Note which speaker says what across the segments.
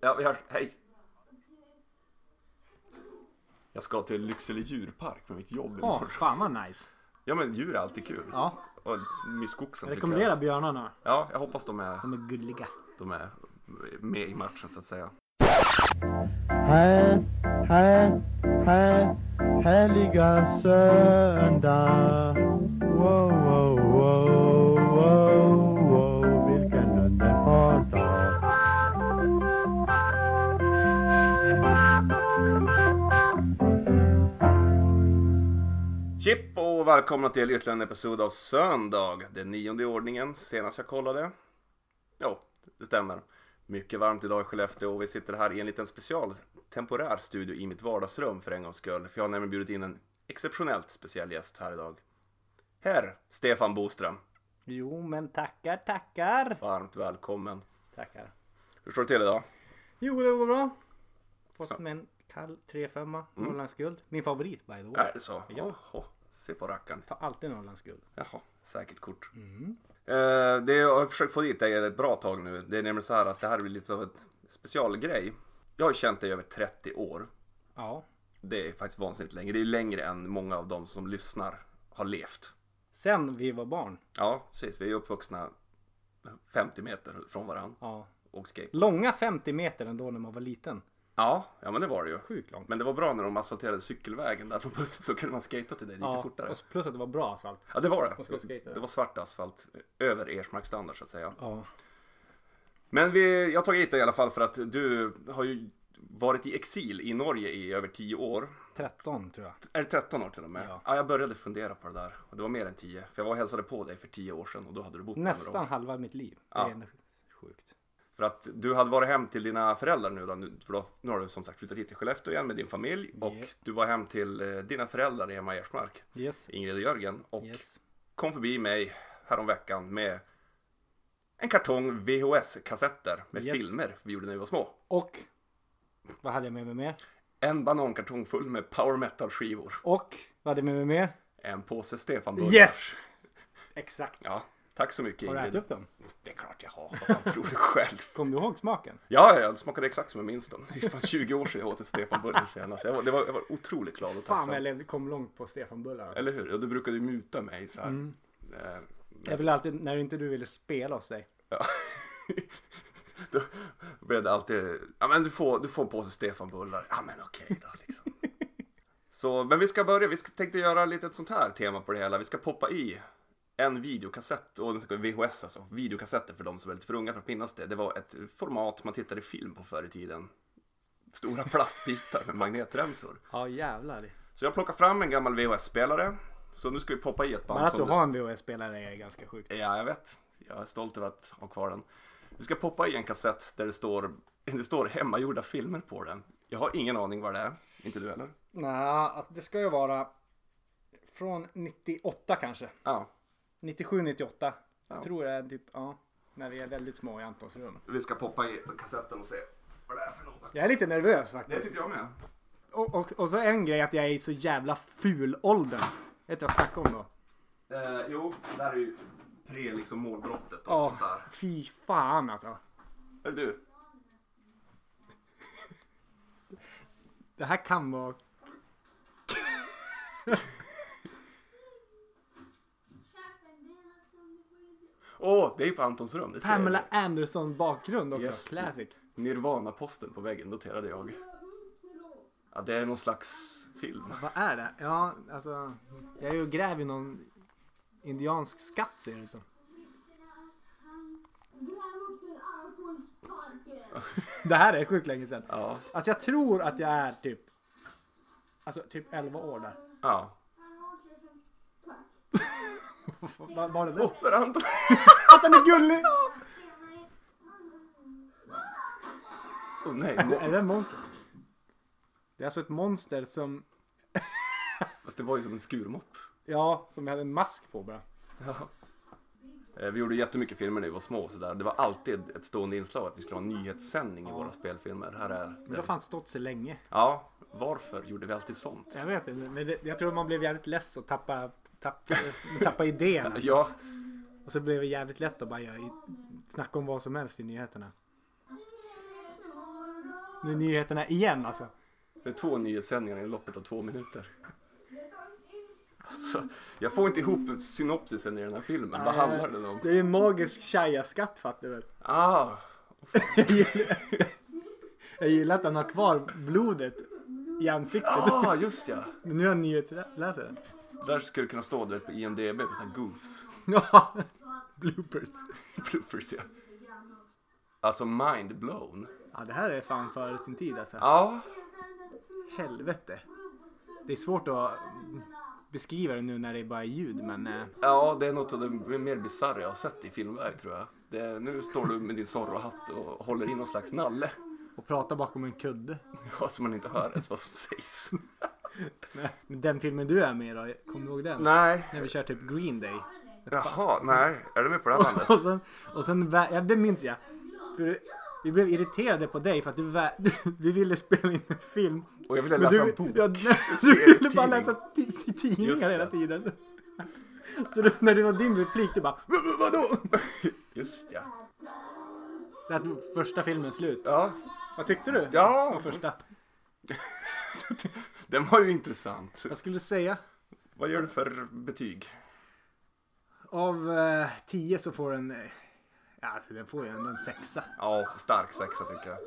Speaker 1: Ja, vi hörs. Hej! Jag ska till Lycksele djurpark med mitt jobb
Speaker 2: Åh,
Speaker 1: imorgon.
Speaker 2: fan vad nice.
Speaker 1: Ja, men djur är alltid kul.
Speaker 2: Ja,
Speaker 1: Och myskoxen
Speaker 2: jag
Speaker 1: tycker jag.
Speaker 2: rekommenderar björnarna.
Speaker 1: Ja, jag hoppas de är,
Speaker 2: De är gulliga.
Speaker 1: de är med i matchen så att säga.
Speaker 3: Här, här, här, härliga söndag. Wow, wow, wow, wow, wow, vilken underbar dag.
Speaker 1: Chip och välkomna till ytterligare en episod av Söndag. Den nionde i ordningen, senast jag kollade. Jo, det stämmer. Mycket varmt idag i Skellefteå och vi sitter här i en liten special temporär studio i mitt vardagsrum för en gångs skull. För jag har nämligen bjudit in en exceptionellt speciell gäst här idag. Herr Stefan Boström,
Speaker 2: Jo, men tackar, tackar.
Speaker 1: varmt välkommen.
Speaker 2: Tackar.
Speaker 1: Hur står det till idag?
Speaker 2: Jo, det går bra.
Speaker 1: Så.
Speaker 2: Fått med en kall 3-5 Norrlandsguld. Min favorit by the way.
Speaker 1: Är det så?
Speaker 2: Ja.
Speaker 1: Jaha, se på rackaren.
Speaker 2: Tar alltid Norrlandsguld.
Speaker 1: Jaha, säkert kort.
Speaker 2: Mm.
Speaker 1: Eh, det jag har försökt få dit dig ett bra tag nu. Det är nämligen så här att det här blir lite av ett specialgrej. Jag har känt dig i över 30 år.
Speaker 2: Ja.
Speaker 1: Det är faktiskt vansinnigt länge. Det är ju längre än många av de som lyssnar har levt.
Speaker 2: Sen vi var barn.
Speaker 1: Ja, precis. Vi är ju uppvuxna 50 meter från varandra
Speaker 2: Ja.
Speaker 1: och skate.
Speaker 2: Långa 50 meter ändå när man var liten.
Speaker 1: Ja, ja men det var det ju.
Speaker 2: Sjukt långt.
Speaker 1: Men det var bra när de asfalterade cykelvägen där från bussen så kunde man skata till dig lite
Speaker 2: Ja,
Speaker 1: fortare.
Speaker 2: och plus att det var bra asfalt.
Speaker 1: Ja, det var
Speaker 2: Och skulle
Speaker 1: det.
Speaker 2: skata.
Speaker 1: Det var svart asfalt över Ersmarksstandard så att säga.
Speaker 2: Ja.
Speaker 1: Men vi, jag har tagit hit dig i alla fall för att du har ju varit i exil i Norge i över 10 år.
Speaker 2: 13 tror jag.
Speaker 1: Är det 13 år till och med? Ja.
Speaker 2: Ja.
Speaker 1: jag började fundera på det där. Och det var mer än 10. För jag var och hälsade på dig för 10 år sedan och då hade du bott där några
Speaker 2: Nästan
Speaker 1: år.
Speaker 2: halva mitt liv.
Speaker 1: Ja.
Speaker 2: Det är ändå sjukt.
Speaker 1: För att du hade varit hem till dina föräldrar nu då. nu- För då, nu har du som sagt flyttat hit till Skellefteå igen med din familj. Och
Speaker 2: Yep.
Speaker 1: du var hem till eh, dina föräldrar hemma i Ersmark.
Speaker 2: Yes.
Speaker 1: Ingrid och Jörgen. Och
Speaker 2: Yes.
Speaker 1: kom förbi mig häromveckan med en kartong VHS-kassetter med
Speaker 2: Yes.
Speaker 1: filmer vi gjorde när vi var små.
Speaker 2: Och vad hade jag med mig mer?
Speaker 1: En banankartong full med power metal-skivor.
Speaker 2: Och vad hade jag med mig mer?
Speaker 1: En påse Stefan
Speaker 2: Yes! Exakt.
Speaker 1: Ja, tack så mycket
Speaker 2: Har du
Speaker 1: Ingrid.
Speaker 2: ätit upp dem?
Speaker 1: Det är klart jag har. Vad fan tror du själv?
Speaker 2: Kom du ihåg smaken?
Speaker 1: Ja, ja, ja, det smakade exakt som jag minns dem. Det är fan 20 år sedan jag åt en Stefanbulle senast. Jag var, det var, jag var otroligt glad och
Speaker 2: Fan vad jag
Speaker 1: tacksam.
Speaker 2: levde- kom långt på Stefanbullar.
Speaker 1: Eller hur? Och du brukade ju muta mig så här.
Speaker 2: Mm.
Speaker 1: Eh,
Speaker 2: Jag ville alltid, när inte du ville spela hos dig.
Speaker 1: ja. Då blev det alltid, ja men du får, du får en påse Stefanbullar. Ja men okej då liksom. Så, men vi ska börja, vi ska, tänkte göra lite ett sånt här tema på det hela. Vi ska poppa i en videokassett, och den ska- VHS alltså, videokassetter för de som är lite för unga för att minnas det. Det var ett format man tittade film på förr i tiden. Stora plastbitar med magnetremsor.
Speaker 2: Ja jävlar.
Speaker 1: Så jag plockar fram en gammal VHS-spelare. Så nu ska vi poppa i ett band.
Speaker 2: Bara att du
Speaker 1: som det-
Speaker 2: har en VHS-spelare är ganska sjukt.
Speaker 1: Ja, jag vet. Jag är stolt över att ha kvar den. Vi ska poppa i en kassett där det står, det står hemmagjorda filmer på den. Jag har ingen aning vad det är. Inte du heller?
Speaker 2: Nej, alltså det ska ju vara från 98 kanske.
Speaker 1: Ja.
Speaker 2: 97, 98.
Speaker 1: Ja.
Speaker 2: Jag tror det är typ, ja. När vi är väldigt små i Antons rum.
Speaker 1: Vi ska poppa i kassetten och se vad det är för något.
Speaker 2: Jag är lite nervös
Speaker 1: Det
Speaker 2: faktiskt.
Speaker 1: sitter jag med.
Speaker 2: Och, och, och så en grej att jag är i så jävla ful ålder. Vet du vad jag snackar om då?
Speaker 1: Eh, jo, det här är ju pre liksom målbrottet och sånt
Speaker 2: Ja,
Speaker 1: där.
Speaker 2: fy fan alltså.
Speaker 1: Är det du?
Speaker 2: Det här kan vara...
Speaker 1: Åh, det är ju på Antons rum. Det ser jag ju.
Speaker 2: Pamela Anderson bakgrund också.
Speaker 1: Yes.
Speaker 2: Classic.
Speaker 1: Nirvana-posten på väggen noterade jag. Ja, det är någon slags film.
Speaker 2: Vad är det? Ja, alltså. Jag är ju och gräver i någon indiansk skatt ser det ut som. Det här är sjukt länge sedan.
Speaker 1: Ja,
Speaker 2: Alltså jag tror att jag är typ... Alltså typ 11 år där.
Speaker 1: ja.
Speaker 2: Vad vad var det där?
Speaker 1: Åh, där är Anton!
Speaker 2: Att den är gullig!
Speaker 1: Åh nej, må-
Speaker 2: Är det en monster? Det är alltså ett monster som...
Speaker 1: fast det var ju som en skurmopp.
Speaker 2: Ja, som hade en mask på bara.
Speaker 1: Eh, Vi gjorde jättemycket filmer när vi var små och sådär. Det var alltid ett stående inslag att vi skulle ha en nyhetssändning i våra spelfilmer. Här är
Speaker 2: Men det har
Speaker 1: den.
Speaker 2: fan stått så länge.
Speaker 1: Ja, varför gjorde vi alltid sånt?
Speaker 2: Jag vet inte, men det, jag tror man blev jävligt less och tappade, tappade, tappade idén. alltså.
Speaker 1: Ja,
Speaker 2: Och så blev det jävligt lätt att bara göra, i- snacka om vad som helst i nyheterna. Nu är nyheterna igen alltså.
Speaker 1: Det är två nyhetssändningar i loppet av två minuter. Alltså, jag får inte ihop synopsisen i den här filmen. Vad handlar den om?
Speaker 2: Det är ju en magisk shayaskatt fattar du väl?
Speaker 1: Ah,
Speaker 2: Jag gillar- Jag gillar att han har kvar blodet i ansiktet.
Speaker 1: ah just ja.
Speaker 2: Men nu är han nyhetsläsare.
Speaker 1: Där skulle det kunna stå du vet, på IMDB på sådana här goofs.
Speaker 2: Ja. Bloopers.
Speaker 1: Bloopers ja. Alltså mind blown.
Speaker 2: Ja, det här är fan före sin tid alltså.
Speaker 1: Ja,
Speaker 2: Helvete. Det är svårt att beskriva det nu när det är bara är ljud, men... eh,
Speaker 1: ja det är något av det mer bisarra jag har sett i filmväg tror jag. Det är, nu står du med din Zorro-hatt och håller i någon slags nalle.
Speaker 2: Och prata bakom en kudde.
Speaker 1: Ja, så man inte hör ens vad som sägs.
Speaker 2: Men den filmen du är med i då, kommer du ihåg den?
Speaker 1: Nej.
Speaker 2: När vi kör typ Green Day.
Speaker 1: Jaha, nej. Är du med på det här bandet?
Speaker 2: Och sen, och sen vä- ja, det minns jag. För vi blev irriterade på dig för att du, vä- du, du ville spela in en film.
Speaker 1: Och jag ville
Speaker 2: Men
Speaker 1: läsa
Speaker 2: du,
Speaker 1: en bok.
Speaker 2: Ja, nej, du ville
Speaker 1: serietidning.
Speaker 2: bara läsa t-
Speaker 1: Just
Speaker 2: tidningar
Speaker 1: det.
Speaker 2: hela tiden. Så då, när det var din replik, du bara "Vad- vad- vadå?
Speaker 1: Just ja.
Speaker 2: Det här var första filmen slut.
Speaker 1: Ja,
Speaker 2: Vad tyckte du?
Speaker 1: Ja.
Speaker 2: Om första.
Speaker 1: den var ju intressant.
Speaker 2: Jag skulle säga
Speaker 1: Vad gör du för betyg?
Speaker 2: av eh, tio så får den, eh, ja, alltså den får ju ändå en sexa.
Speaker 1: Ja, stark sexa tycker jag.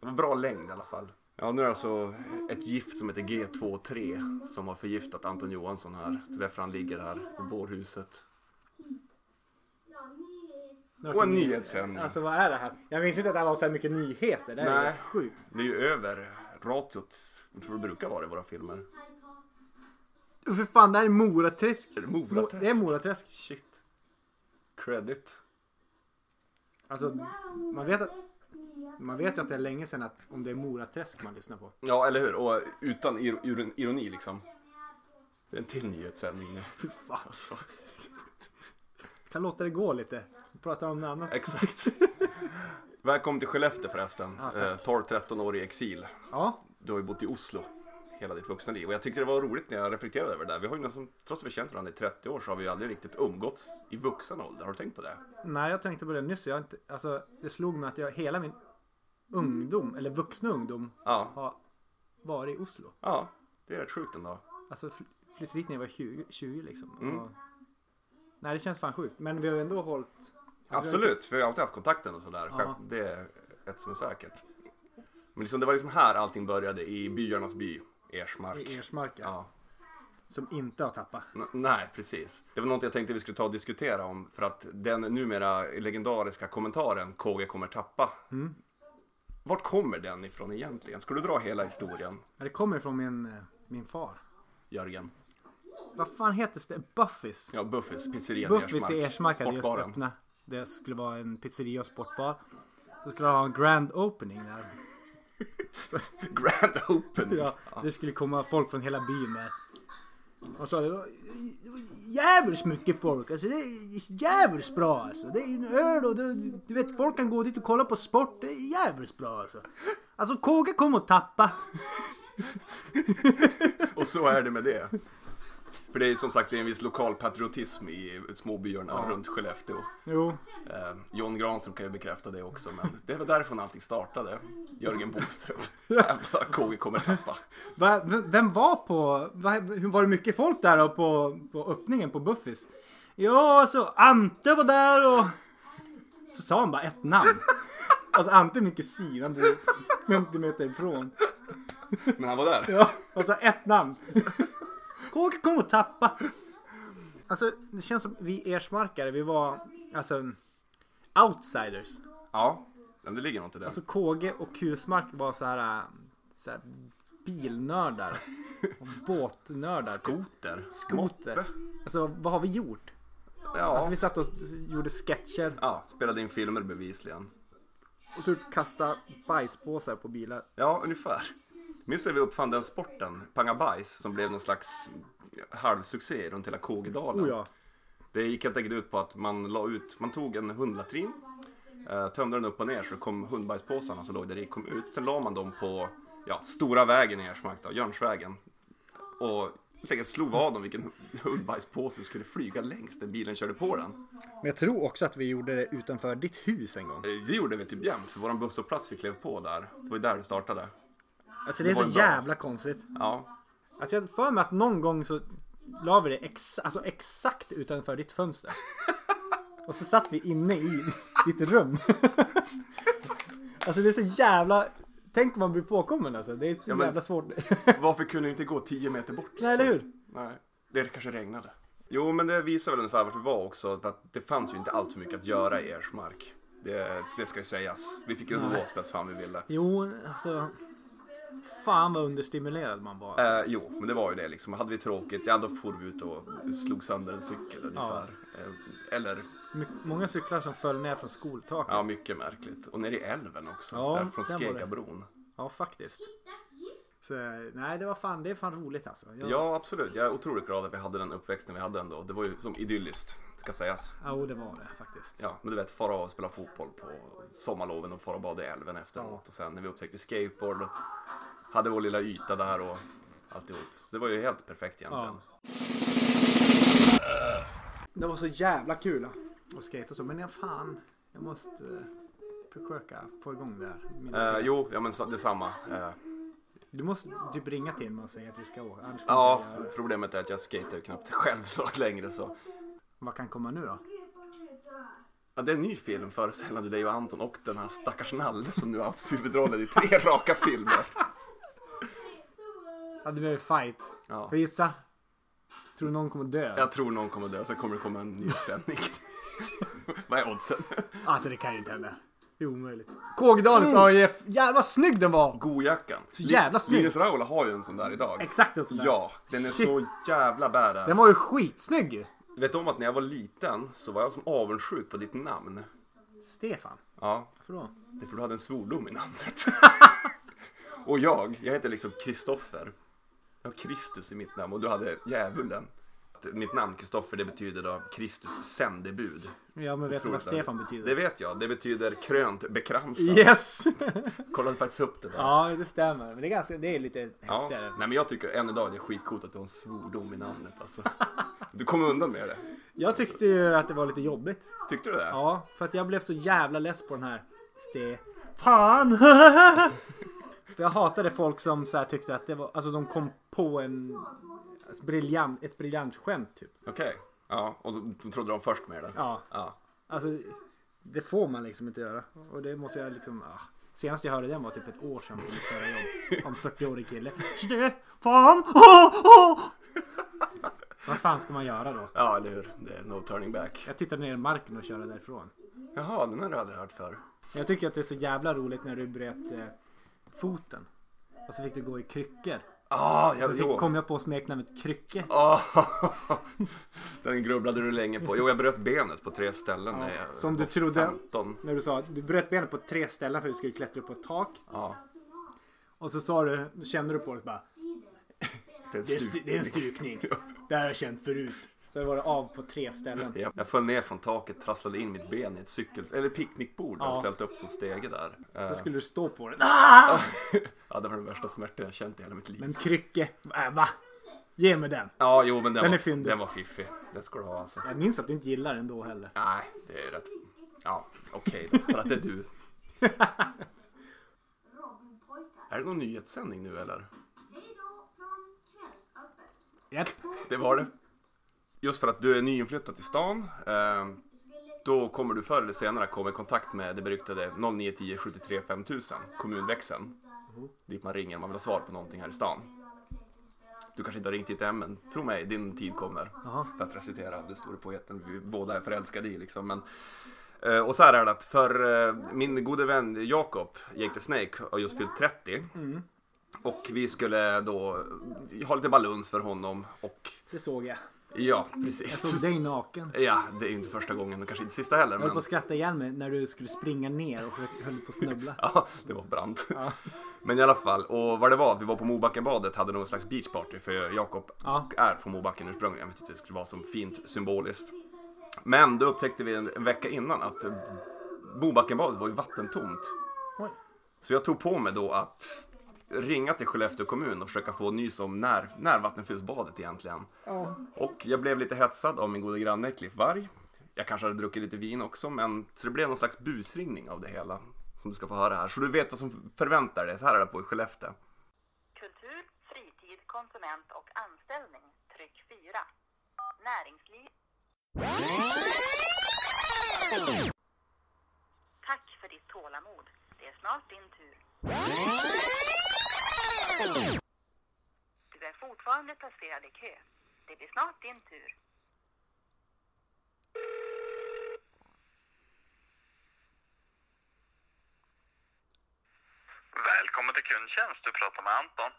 Speaker 1: Det var bra längd i alla fall. Ja, nu är det alltså ett gift som heter G23 som har förgiftat Anton Johansson här. Det är därför han ligger här på bårhuset. Och en nyhetssändning.
Speaker 2: Alltså vad är det här? Jag minns inte att det här var så här mycket nyheter. Det här är
Speaker 1: Nej.
Speaker 2: helt sjukt.
Speaker 1: Det är ju över ratiot för det brukar vara i våra filmer.
Speaker 2: Och För fan, det här är Moraträsk.
Speaker 1: Är det Moraträsk?
Speaker 2: Det är Moraträsk.
Speaker 1: Shit. Credit.
Speaker 2: Alltså, man vet, att, man vet ju att det är länge sedan att om det är Moraträsk man lyssnar på.
Speaker 1: Ja, eller hur? Och utan ir- ir- ironi liksom. Det är en till nyhetssändning nu. Fy fan alltså.
Speaker 2: Kan låta det gå lite. Vi pratar om något annat.
Speaker 1: Exakt. Välkommen till Skellefteå förresten.
Speaker 2: Ja, tack.
Speaker 1: eh, 12-13 år i exil.
Speaker 2: Ja,
Speaker 1: Du har ju bott i Oslo hela ditt vuxna liv. Och jag tyckte det var roligt när jag reflekterade över det där. Vi har ju nästan, trots att vi känt varandra i 30 år så har vi ju aldrig riktigt umgåtts i vuxen ålder. Har du tänkt på det?
Speaker 2: nej jag tänkte på det nyss. Jag har inte, alltså, det slog mig att jag hela min ungdom, eller vuxna ungdom,
Speaker 1: Ja.
Speaker 2: har varit i Oslo.
Speaker 1: Ja, det är rätt sjukt ändå.
Speaker 2: Alltså fl- flyttade dit när jag var 20, 20 liksom.
Speaker 1: Mm.
Speaker 2: Och, nej, det känns fan sjukt. Men vi har ju ändå hållit... alltså, vi har
Speaker 1: Absolut, vi har ju alltid haft kontakten och sådär.
Speaker 2: Ja.
Speaker 1: Själv, det är ett som är säkert. Men liksom, det var liksom här allting började, i byarnas by, Ersmark.
Speaker 2: inte- I Ersmarka.
Speaker 1: Ja.
Speaker 2: Som inte har tappat.
Speaker 1: N- nej, precis. Det var något jag tänkte vi skulle ta och diskutera om. För att den numera legendariska kommentaren KG kommer tappa.
Speaker 2: Mm.
Speaker 1: Vart kommer den ifrån egentligen? Ska du dra hela historien,
Speaker 2: Men det kommer från min, eh, min far.
Speaker 1: Jörgen?
Speaker 2: Vad fan heter det? Buffys?
Speaker 1: Ja, Buffys pizzeria
Speaker 2: Buffys i Ersmark hade just
Speaker 1: Sportbaren.
Speaker 2: öppnat. Det skulle vara en pizzeria och sportbar. Så skulle de ha en grand opening där.
Speaker 1: Grand Open.
Speaker 2: Ja, så det skulle komma folk från hela byn där. Och så det var, det var jävligt mycket folk. Alltså det är jävligt bra alltså. Det är ju en öl och det, du vet folk kan gå dit och kolla på sport. Det är jävligt bra alltså. Alltså KG kom och tappa.
Speaker 1: Och så är det med det. För det är som sagt det är en viss lokal patriotism i småbyarna runt Skellefteå.
Speaker 2: Jo,
Speaker 1: Eh, John Granström kan ju bekräfta det också, men det var därifrån allting startade. Jörgen Boström hävdar att KG kommer tappa.
Speaker 2: Va, v- vem var på... Va, hur- var det mycket folk där då på, på öppningen på Buffys? Ja, alltså Ante var där och... Så sa han bara ett namn. Alltså Ante är min kusin, han bor 50 meter ifrån.
Speaker 1: Men han var där.
Speaker 2: Ja, och så ett namn. KK kom och tappa. Alltså det känns som vi ersmarkare, vi var alltså outsiders.
Speaker 1: Ja, men det ligger något i det.
Speaker 2: Alltså KG och Kusmark var så här, äh, så här bilnördar. Och båtnördar. typ.
Speaker 1: Skoter.
Speaker 2: Skoter. Alltså vad har vi gjort?
Speaker 1: Ja.
Speaker 2: Alltså vi satt och gjorde sketcher
Speaker 1: ja, spelade in filmer bevisligen.
Speaker 2: och typ kastade bajspåsar på bilar.
Speaker 1: Ja, ungefär. Minns du när vi uppfann den sporten, panga bajs, som blev någon slags halvsuccé runt hela KG-dalen?
Speaker 2: Oh ja.
Speaker 1: Det gick helt enkelt ut på att man la ut, man tog en hundlatrin, eh, tömde den upp och ner så det kom hundbajspåsarna som låg där i kom ut. Sen la man dem på ja, stora vägen i Ersmark, då, Jörnsvägen. Och Tänk att slog vad om vilken hundbajspåse som skulle flyga längst när bilen körde på den.
Speaker 4: Men jag tror också att vi gjorde det utanför ditt hus en gång.
Speaker 1: Eh, Det gjorde vi typ jämt, för våran busshållplats vi klev på där. Det var ju där det startade.
Speaker 4: Alltså det är
Speaker 1: Det var
Speaker 4: så
Speaker 1: ju bra.
Speaker 4: jävla konstigt.
Speaker 1: Ja,
Speaker 2: Alltså jag har för mig att någon gång så la vi det ex, alltså exakt utanför ditt fönster. Och så satt vi inne i ditt rum. Alltså det är så jävla... Tänk om man blir påkommen alltså. Det är så
Speaker 1: Ja, men-
Speaker 2: jävla svårt.
Speaker 1: varför kunde vi inte gå 10 meter bort? liksom?
Speaker 2: Nej, eller hur?
Speaker 1: Nej, det kanske regnade. Jo, men det visar väl ungefär vart vi var också. för Att det fanns ju inte allt för mycket att göra i Ersmark. Det, det ska ju sägas. Vi fick ju lås bäst fan vi ville.
Speaker 2: Jo, alltså... Fan vad understimulerad man var.
Speaker 1: Eh, jo, men det var ju det liksom. Hade vi tråkigt, ja då for vi ut och slog sönder en cykel ungefär. Eh, eller,
Speaker 2: My- många cyklar som föll ner från skoltaket.
Speaker 1: ja
Speaker 2: Ja,
Speaker 1: mycket märkligt. Och nere i älven också,
Speaker 2: Ja,
Speaker 1: där från
Speaker 2: där var det.
Speaker 1: Skegabron.
Speaker 2: faktiskt. Så, nej, det var fan, det är fan roligt alltså. Jag,
Speaker 1: Ja, absolut. Jag är otroligt glad att vi hade den uppväxten vi hade ändå. Det var ju som idylliskt, ska sägas.
Speaker 2: ja, jo, det var det faktiskt.
Speaker 1: Ja, men du vet, fara och spela fotboll på sommarloven och fara och bada i älven efteråt. Och sen när vi upptäckte skateboard, hade vår lilla yta där och alltihop. Så det var ju helt perfekt egentligen.
Speaker 2: Det var så jävla kul att skejta och så. Men jag fan, jag måste eh, försöka få igång det här. Mina-
Speaker 1: Eh, jo, ja men sa- detsamma. Eh,
Speaker 2: Du måste typ ringa till mig och säga att vi ska åka. Annars kommer
Speaker 1: ja,
Speaker 2: inte jag göra det.
Speaker 1: problemet är att jag skater ju knappt själv så längre så.
Speaker 2: Vad kan komma nu då?
Speaker 1: Ja, det är en ny film föreställande dig och Anton och den här stackars Nalle som nu har haft huvudrollen i tre raka filmer.
Speaker 2: Ja, det blir fight.
Speaker 1: Ja.
Speaker 2: Får jag gissa? Tror du någon kommer dö?
Speaker 1: Jag tror någon kommer dö, så kommer det komma en nyhetssändning. Vad är oddsen?
Speaker 2: Alltså det kan ju inte hända. Det är omöjligt. Kågedalen sa ju jävla snygg den var!
Speaker 1: Gojackan.
Speaker 2: Så jävla snygg.
Speaker 1: Linus Raula har ju en sån där idag.
Speaker 2: Exakt en sån där.
Speaker 1: Ja, den är
Speaker 2: Shit.
Speaker 1: så jävla badass.
Speaker 2: Den var ju skitsnygg ju.
Speaker 1: Vet du om att när jag var liten så var jag som avundsjuk på ditt namn?
Speaker 2: Stefan.
Speaker 1: Ja,
Speaker 2: Varför då?
Speaker 1: det är för du hade en svordom i namnet. och jag, jag heter liksom Kristoffer. Jag har Kristus i mitt namn och du hade djävulen. Mitt namn Kristoffer det betyder då Kristus sändebud.
Speaker 2: Ja men vet du vad
Speaker 1: Otroligt
Speaker 2: Stefan
Speaker 1: väldigt.
Speaker 2: betyder?
Speaker 1: Det vet jag, det betyder krönt bekransad.
Speaker 2: Yes!
Speaker 1: Kollade faktiskt upp det där.
Speaker 2: ja det stämmer. Men det är, ganska, det är lite
Speaker 1: Ja.
Speaker 2: häftigare.
Speaker 1: Nej men jag tycker än idag det är skitcoolt att du har en svordom i namnet alltså. Du kom undan med det.
Speaker 2: Jag tyckte ju att det var lite jobbigt.
Speaker 1: Tyckte du det?
Speaker 2: Ja, för att jag blev så jävla less på den här Stefan. för jag hatade folk som så här tyckte att det var, alltså de kom på en alltså, briljant, ett briljant skämt typ.
Speaker 1: Okej. Ja, och så de trodde de först med det.
Speaker 2: Ja,
Speaker 1: Ja.
Speaker 2: alltså det får man liksom inte göra. Och det måste jag liksom, ah. Senast jag hörde den var typ ett år sedan på mitt förra jobb. Om 40-årig kille. Stefan! Oh, oh. Vad fan ska man göra då?
Speaker 1: ja, eller hur? Det är no turning back.
Speaker 2: Jag tittade ner i marken och körde därifrån.
Speaker 1: Jaha, den har du aldrig hört för.
Speaker 2: Jag tycker att det är så jävla roligt när du bröt eh, foten. Och så fick du gå i kryckor.
Speaker 1: Ah,
Speaker 2: Så
Speaker 1: jag
Speaker 2: fick,
Speaker 1: jo.
Speaker 2: kom jag på smeknamnet Krycke.
Speaker 1: Ah, den grubblade du länge på. Jo, jag bröt benet på tre ställen när jag
Speaker 2: som du
Speaker 1: var
Speaker 2: trodde.
Speaker 1: 15.
Speaker 2: När du sa att du bröt benet på tre ställen för att du skulle klättra upp på ett tak.
Speaker 1: Ja.
Speaker 2: Och så sa du, kände du på det bara.
Speaker 1: Det är
Speaker 2: Det är,
Speaker 1: stu-
Speaker 2: stu- det är en stukning. Det här har jag känt förut. Så var det av på tre ställen.
Speaker 1: Ja, Jag föll ner från taket, trasslade in mitt ben i ett cykel... Eller picknickbord jag
Speaker 2: Ja.
Speaker 1: ställt upp som stege där. Eh,
Speaker 2: Då skulle du stå på det.
Speaker 1: Ah! ja, det var den värsta smärtan jag känt i hela mitt liv.
Speaker 2: Men Krycke, äh, va? Ge mig den.
Speaker 1: Ja, jo, men den,
Speaker 2: Den är
Speaker 1: var,
Speaker 2: fyndig.
Speaker 1: den var fiffig. Den ska du ha alltså.
Speaker 2: Jag minns att du inte gillar den då heller.
Speaker 1: Nej, det är rätt... Ja, okej då. För att det är du. Är det någon nyhetssändning nu eller?
Speaker 5: Hej då från Kvällsöppet.
Speaker 2: Japp.
Speaker 1: Det var det. Just för att du är nyinflyttad till stan. Eh, då kommer du förr eller senare komma i kontakt med det beryktade 0910 73 5000, kommunväxeln. Dit man ringer om man vill ha svar på någonting här i stan. Du kanske inte har ringt dit än, men tro mig, din tid kommer.
Speaker 2: Jaha.
Speaker 1: För att recitera den store poeten vi båda är förälskade i liksom. Men, eh, och så här är det att för eh, min gode vän Jakob, Jake the Snake, har just fyllt 30.
Speaker 2: Mm.
Speaker 1: Och vi skulle då ha lite baluns för honom och
Speaker 2: Det såg jag.
Speaker 1: Ja,
Speaker 2: Jag
Speaker 1: precis.
Speaker 2: såg dig naken.
Speaker 1: Ja, det är ju inte första gången och kanske inte sista heller.
Speaker 2: Jag höll på
Speaker 1: Men...
Speaker 2: att skratta igen mig när du skulle springa ner och försökte- höll på att snubbla.
Speaker 1: Ja, det var brant. Men i alla fall, och vad det var, vi var på Mobackenbadet, hade någon slags beachparty för Jakob
Speaker 2: Ja.
Speaker 1: är från Mobacken ursprungligen. Vi tyckte det skulle vara som fint symboliskt. Men då upptäckte vi en en vecka innan att eh, Mobackenbadet var ju vattentomt.
Speaker 2: Oj.
Speaker 1: Så jag tog på mig då att ringa till Skellefteå kommun och försöka få nys om när, när vattenfyllsbadet egentligen. Och jag blev lite hetsad av min goda granne Cliff Varg. Jag kanske hade druckit lite vin också, men så det blev någon slags busringning av det hela. Som du ska få höra här. Så du vet vad som förväntar dig. Så här är det på i Skellefteå.
Speaker 6: Kultur, fritid, konsument och anställning. Tryck 4. Näringsliv. Tack för ditt tålamod. Det är snart din tur. Du är fortfarande placerad i kö. Det blir snart din tur.
Speaker 7: Välkommen till kundtjänst. Du pratar med Anton.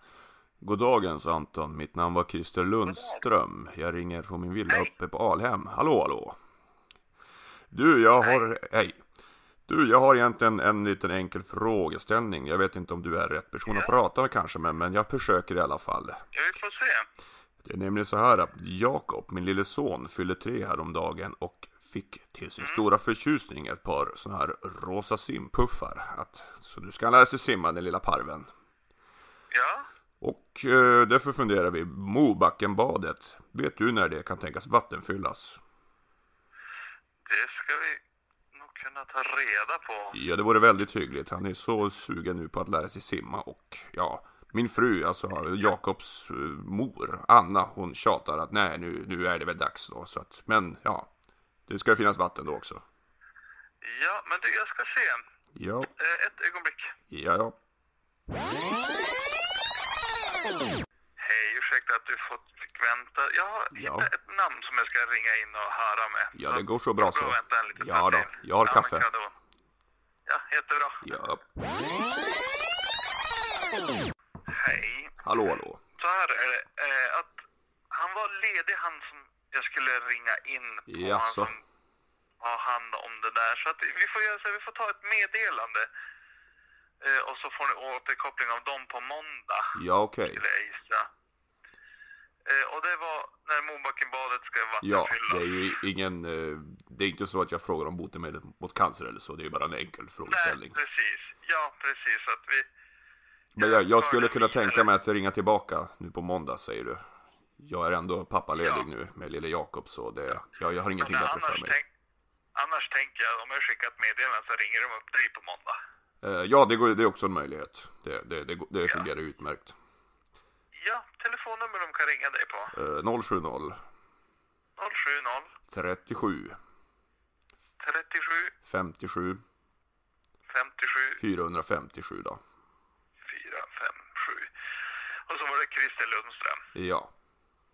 Speaker 1: God dagens Anton, mitt namn var Christer Lundström. Jag ringer från min villa uppe på Alhem. Hallå hallå! Du, jag har... Hej! Du, jag har egentligen en liten enkel frågeställning. Jag vet inte om du är rätt person att prata med kanske, men, men jag försöker i alla fall.
Speaker 7: Ja, vi får se.
Speaker 1: Det är nämligen så här att Jakob, min lille son, fyllde tre häromdagen och fick till sin stora förtjusning ett par såna här rosa simpuffar. Att, så nu ska han lära sig simma, den lilla parven.
Speaker 7: Ja,
Speaker 1: Och eh, därför funderar vi, Mobackenbadet, vet du när det kan tänkas vattenfyllas?
Speaker 7: det ska vi nog kunna ta reda på.
Speaker 1: Ja, det vore väldigt hyggligt. Han är så sugen nu på att lära sig simma och ja, min fru, alltså Jakobs eh, mor, Anna, hon tjatar att nej, nu, nu är det väl dags då. Så att, men ja, det ska ju finnas vatten då också.
Speaker 7: Ja, men du, jag ska se.
Speaker 1: Ja,
Speaker 7: Eh, Ett ögonblick.
Speaker 1: ja, ja.
Speaker 7: Hej, ursäkta att du fått fick vänta. Jag har hittat ett namn som jag ska ringa in och höra med.
Speaker 1: Ja, det går så bra
Speaker 7: Jag får
Speaker 1: så.
Speaker 7: vänta en liten
Speaker 1: Ja
Speaker 7: stund
Speaker 1: då,
Speaker 7: till.
Speaker 1: jag har
Speaker 7: ja,
Speaker 1: kaffe.
Speaker 7: Men, kanon. ja, jättebra.
Speaker 1: ja.
Speaker 7: Hej.
Speaker 1: Hallå, hallå.
Speaker 7: Så här är det. Eh, att han var ledig, han som jag skulle ringa in på.
Speaker 1: Jaså.
Speaker 7: Han som har hand om det där. Så att vi får göra så här, vi får ta ett meddelande. Eh, och så får ni återkoppling av dem på måndag.
Speaker 1: Ja, okej.
Speaker 7: skulle jag gissa. Eh, och det var när Mobackenbadet ska
Speaker 1: Ja,
Speaker 7: vattenfyllas.
Speaker 1: det är ju ingen, eh, det är inte så att jag frågar om botemedel mot cancer eller så. Det är ju bara en enkel
Speaker 7: Nej,
Speaker 1: frågeställning.
Speaker 7: precis. Ja, precis. Att vi...
Speaker 1: Men jag, jag skulle
Speaker 7: Frågan
Speaker 1: kunna
Speaker 7: vidare.
Speaker 1: tänka mig att ringa tillbaka nu på måndag säger du. Jag är ändå pappaledig
Speaker 7: Ja.
Speaker 1: nu med lille Jakob så det, jag, jag har ingenting
Speaker 7: Men
Speaker 1: bättre
Speaker 7: annars,
Speaker 1: för mig.
Speaker 7: tänk, annars tänker jag, om jag skickar ett meddelande så ringer de upp dig på måndag.
Speaker 1: Eh, ja, det, går, det är också en möjlighet. Det, det, det, går- det fungerar utmärkt.
Speaker 7: Ja, telefonnummer de kan ringa dig på.
Speaker 1: Eh, 070
Speaker 7: 070
Speaker 1: 37
Speaker 7: 37
Speaker 1: 57
Speaker 7: 57
Speaker 1: 457 då.
Speaker 7: 457. Och så var det Christer Lundström.
Speaker 1: Ja,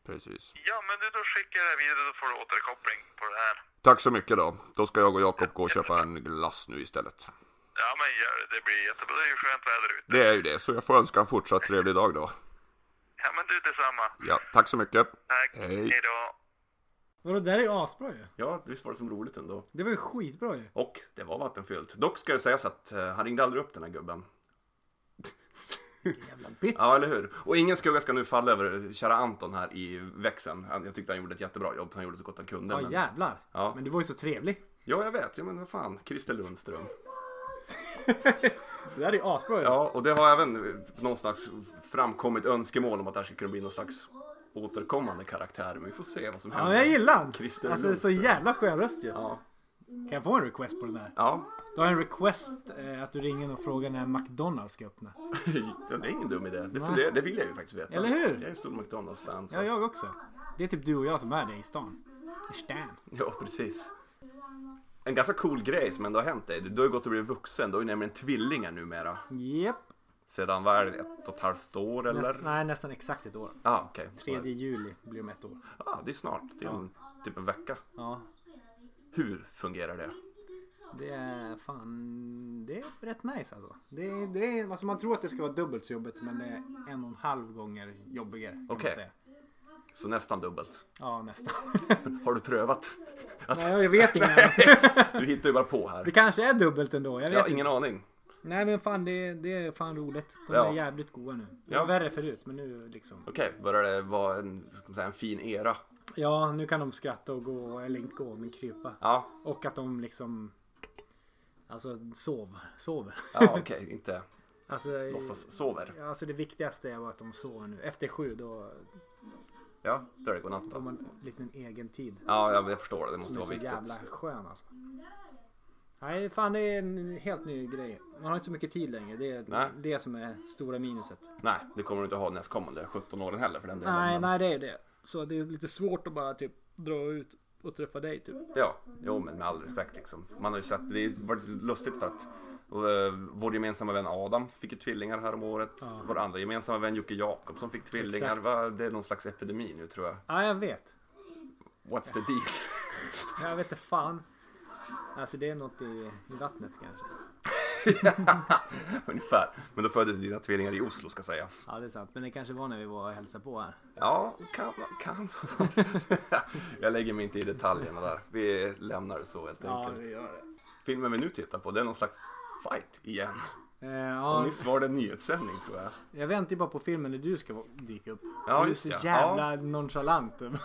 Speaker 1: precis.
Speaker 7: Ja, men du, då skickar jag det vidare, då får du återkoppling på det här.
Speaker 1: Tack så mycket då. Då ska jag och Jakob gå och köpa en glass nu istället.
Speaker 7: Ja, men gör det. Det blir jättebra. Det är ju skönt väder ute.
Speaker 1: Det är ju det, så jag får önska en fortsatt trevlig dag då.
Speaker 7: Ja, men du, detsamma.
Speaker 1: Ja, tack så mycket.
Speaker 7: Tack.
Speaker 1: Hej.
Speaker 7: Hej då.
Speaker 2: Vadå, det där är ju asbra ju.
Speaker 1: Ja, visst var det som roligt ändå.
Speaker 2: Det var ju skitbra ju.
Speaker 1: Och det var vattenfyllt. Dock ska det sägas att eh, han ringde aldrig upp den här gubben.
Speaker 2: Jävla bitch.
Speaker 1: Ja, eller hur? Och ingen skugga ska nu falla över eh, kära Anton här i växeln. Han- Jag tyckte han gjorde ett jättebra jobb. Han gjorde så gott han kunde.
Speaker 2: Ja
Speaker 1: men...
Speaker 2: jävlar.
Speaker 1: Ja.
Speaker 2: Men du var ju så trevlig.
Speaker 1: ja, jag vet. Ja, men vad fan. Christer Lundström.
Speaker 2: Det där är ju asbra ju.
Speaker 1: Ja, och det har även eh, någon slags framkommit önskemål om att det här skulle kunna bli någon slags återkommande karaktär. Men vi får se vad som
Speaker 2: Ja,
Speaker 1: händer.
Speaker 2: men jag gillar han.
Speaker 1: Christer
Speaker 2: Alltså det är så
Speaker 1: Lundström.
Speaker 2: jävla skön röst ju.
Speaker 1: Ja.
Speaker 2: Kan jag få en request på den där?
Speaker 1: Ja,
Speaker 2: Du har en request eh, att du ringer och frågar när McDonalds ska öppna.
Speaker 1: det är ingen dum idé. Det, funderar, det vill jag ju faktiskt veta.
Speaker 2: Eller hur?
Speaker 1: Jag är en stor McDonalds-fan. Så.
Speaker 2: Ja, jag också. Det är typ du och jag som är det i stan. I stan.
Speaker 1: Ja, precis. En ganska cool grej som ändå har hänt dig. Du har ju gått och blivit vuxen. Du har ju nämligen tvillingar numera.
Speaker 2: Japp.
Speaker 1: Sedan, vad är det, ett och ett halvt år eller?
Speaker 2: Näst, nej, nästan exakt ett år.
Speaker 1: ah, okej.
Speaker 2: 3 juli blir de ett år.
Speaker 1: ah, det är snart. Det är en, typ en vecka.
Speaker 2: Ja,
Speaker 1: Hur fungerar det?
Speaker 2: det är fan... Det är rätt nice alltså. Det, är- det är, alltså man tror att det ska vara dubbelt så jobbigt men det är en och en halv gånger jobbigare. kan man
Speaker 1: Okej.
Speaker 2: säga.
Speaker 1: Så nästan dubbelt.
Speaker 2: Ja, nästan.
Speaker 1: Har du prövat? Att,
Speaker 2: nej, jag vet inte.
Speaker 1: du hittar ju bara på här.
Speaker 2: Det kanske är dubbelt ändå. Jag vet
Speaker 1: Jag har
Speaker 2: inte.
Speaker 1: ingen aning.
Speaker 2: Nej men fan det, det är fan roligt. De
Speaker 1: Ja.
Speaker 2: är jävligt goda nu. Det
Speaker 1: Ja.
Speaker 2: var värre förut men nu liksom.
Speaker 1: Okej, börjar det vara en, ska man säga, en fin era?
Speaker 2: Ja nu kan de skratta och gå, eller inte gå men krypa.
Speaker 1: Ja,
Speaker 2: Och att de liksom Alltså sov, sover.
Speaker 1: ja okej, inte
Speaker 2: Alltså,
Speaker 1: Låtsas sover.
Speaker 2: ja, alltså det viktigaste var att de sover nu. Efter sju då
Speaker 1: Ja, då är det godnatt
Speaker 2: får
Speaker 1: då.
Speaker 2: man en liten egen tid.
Speaker 1: Ja, ja, men jag förstår det. Det måste
Speaker 2: Som är
Speaker 1: vara
Speaker 2: så jävla
Speaker 1: viktigt.
Speaker 2: skön alltså. Nej, fan det är en helt ny grej. Man har inte så mycket tid längre. Det är
Speaker 1: Nej.
Speaker 2: det som är stora minuset.
Speaker 1: Nej, det kommer du inte ha nästkommande 17 åren heller för den delen.
Speaker 2: Nej,
Speaker 1: men-
Speaker 2: nej det är det. Så det är lite svårt att bara typ dra ut och träffa dig typ.
Speaker 1: Ja, jo men med all respekt liksom. Man har ju sett, det har varit lustigt för att eh, vår gemensamma vän Adam fick ju tvillingar här om året. Vår andra gemensamma vän Jocke Jakobsson fick tvillingar.
Speaker 2: Exakt.
Speaker 1: Va, det är någon slags epidemi nu tror jag.
Speaker 2: Ja, jag vet.
Speaker 1: What's the deal?
Speaker 2: Jag vet inte fan. Alltså det är något i, i vattnet kanske.
Speaker 1: Ungefär. Men då föddes dina tvillingar i Oslo ska sägas.
Speaker 2: Ja, det är sant. Men det kanske var när vi var och hälsade på här.
Speaker 1: Ja, kan kan Jag lägger mig inte i detaljerna där. Vi lämnar det så helt enkelt.
Speaker 2: gör det.
Speaker 1: Filmen vi nu tittar på det är någon slags fight igen. Och
Speaker 2: Eh, ja,
Speaker 1: nyss var det en nyhetssändning tror jag.
Speaker 2: jag väntar ju bara på filmen när du ska vara- dyka upp.
Speaker 1: Ja,
Speaker 2: du är
Speaker 1: just
Speaker 2: så
Speaker 1: det.
Speaker 2: jävla nonchalant. Sitter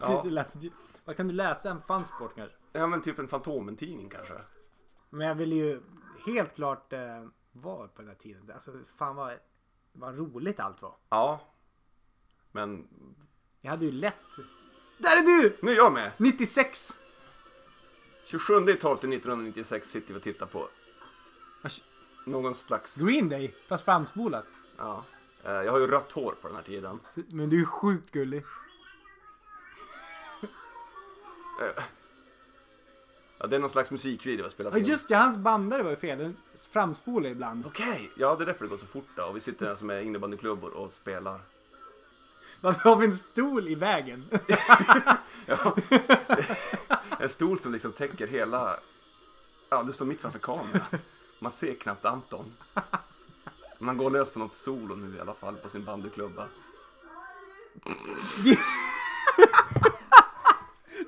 Speaker 1: Ja.
Speaker 2: och läser- Vad kan du läsa? En fansport kanske?
Speaker 1: Ja men typ en Fantomen-tidning kanske.
Speaker 2: Men jag ville ju helt klart eh, vara på den här tiden. Alltså fan vad, vad roligt allt var.
Speaker 1: Ja. Men
Speaker 2: Jag hade ju lätt... Där är du!
Speaker 1: nu är jag med!
Speaker 2: 96!
Speaker 1: 27 12 1996 sitter vi och tittar på
Speaker 2: Asch.
Speaker 1: någon slags...
Speaker 2: Green Day, fast framspolat.
Speaker 1: Ja. Eh, Jag har ju rött hår på den här tiden.
Speaker 2: Så- Men du är sjukt gullig.
Speaker 1: Eh. Ja, det är någon slags musikvideo jag spelat
Speaker 2: Ja just det, hans bandare var ju fel. Den framspolar ibland.
Speaker 1: Okej! Ja, det är därför det går så fort då. Och vi sitter här som är innebandyklubbor och spelar.
Speaker 2: Varför har vi en stol i vägen?
Speaker 1: Ja. en stol som liksom täcker hela... Ja, det står mitt framför kameran. Man ser knappt Anton. Men han går lös på något solo nu i alla fall på sin bandyklubba.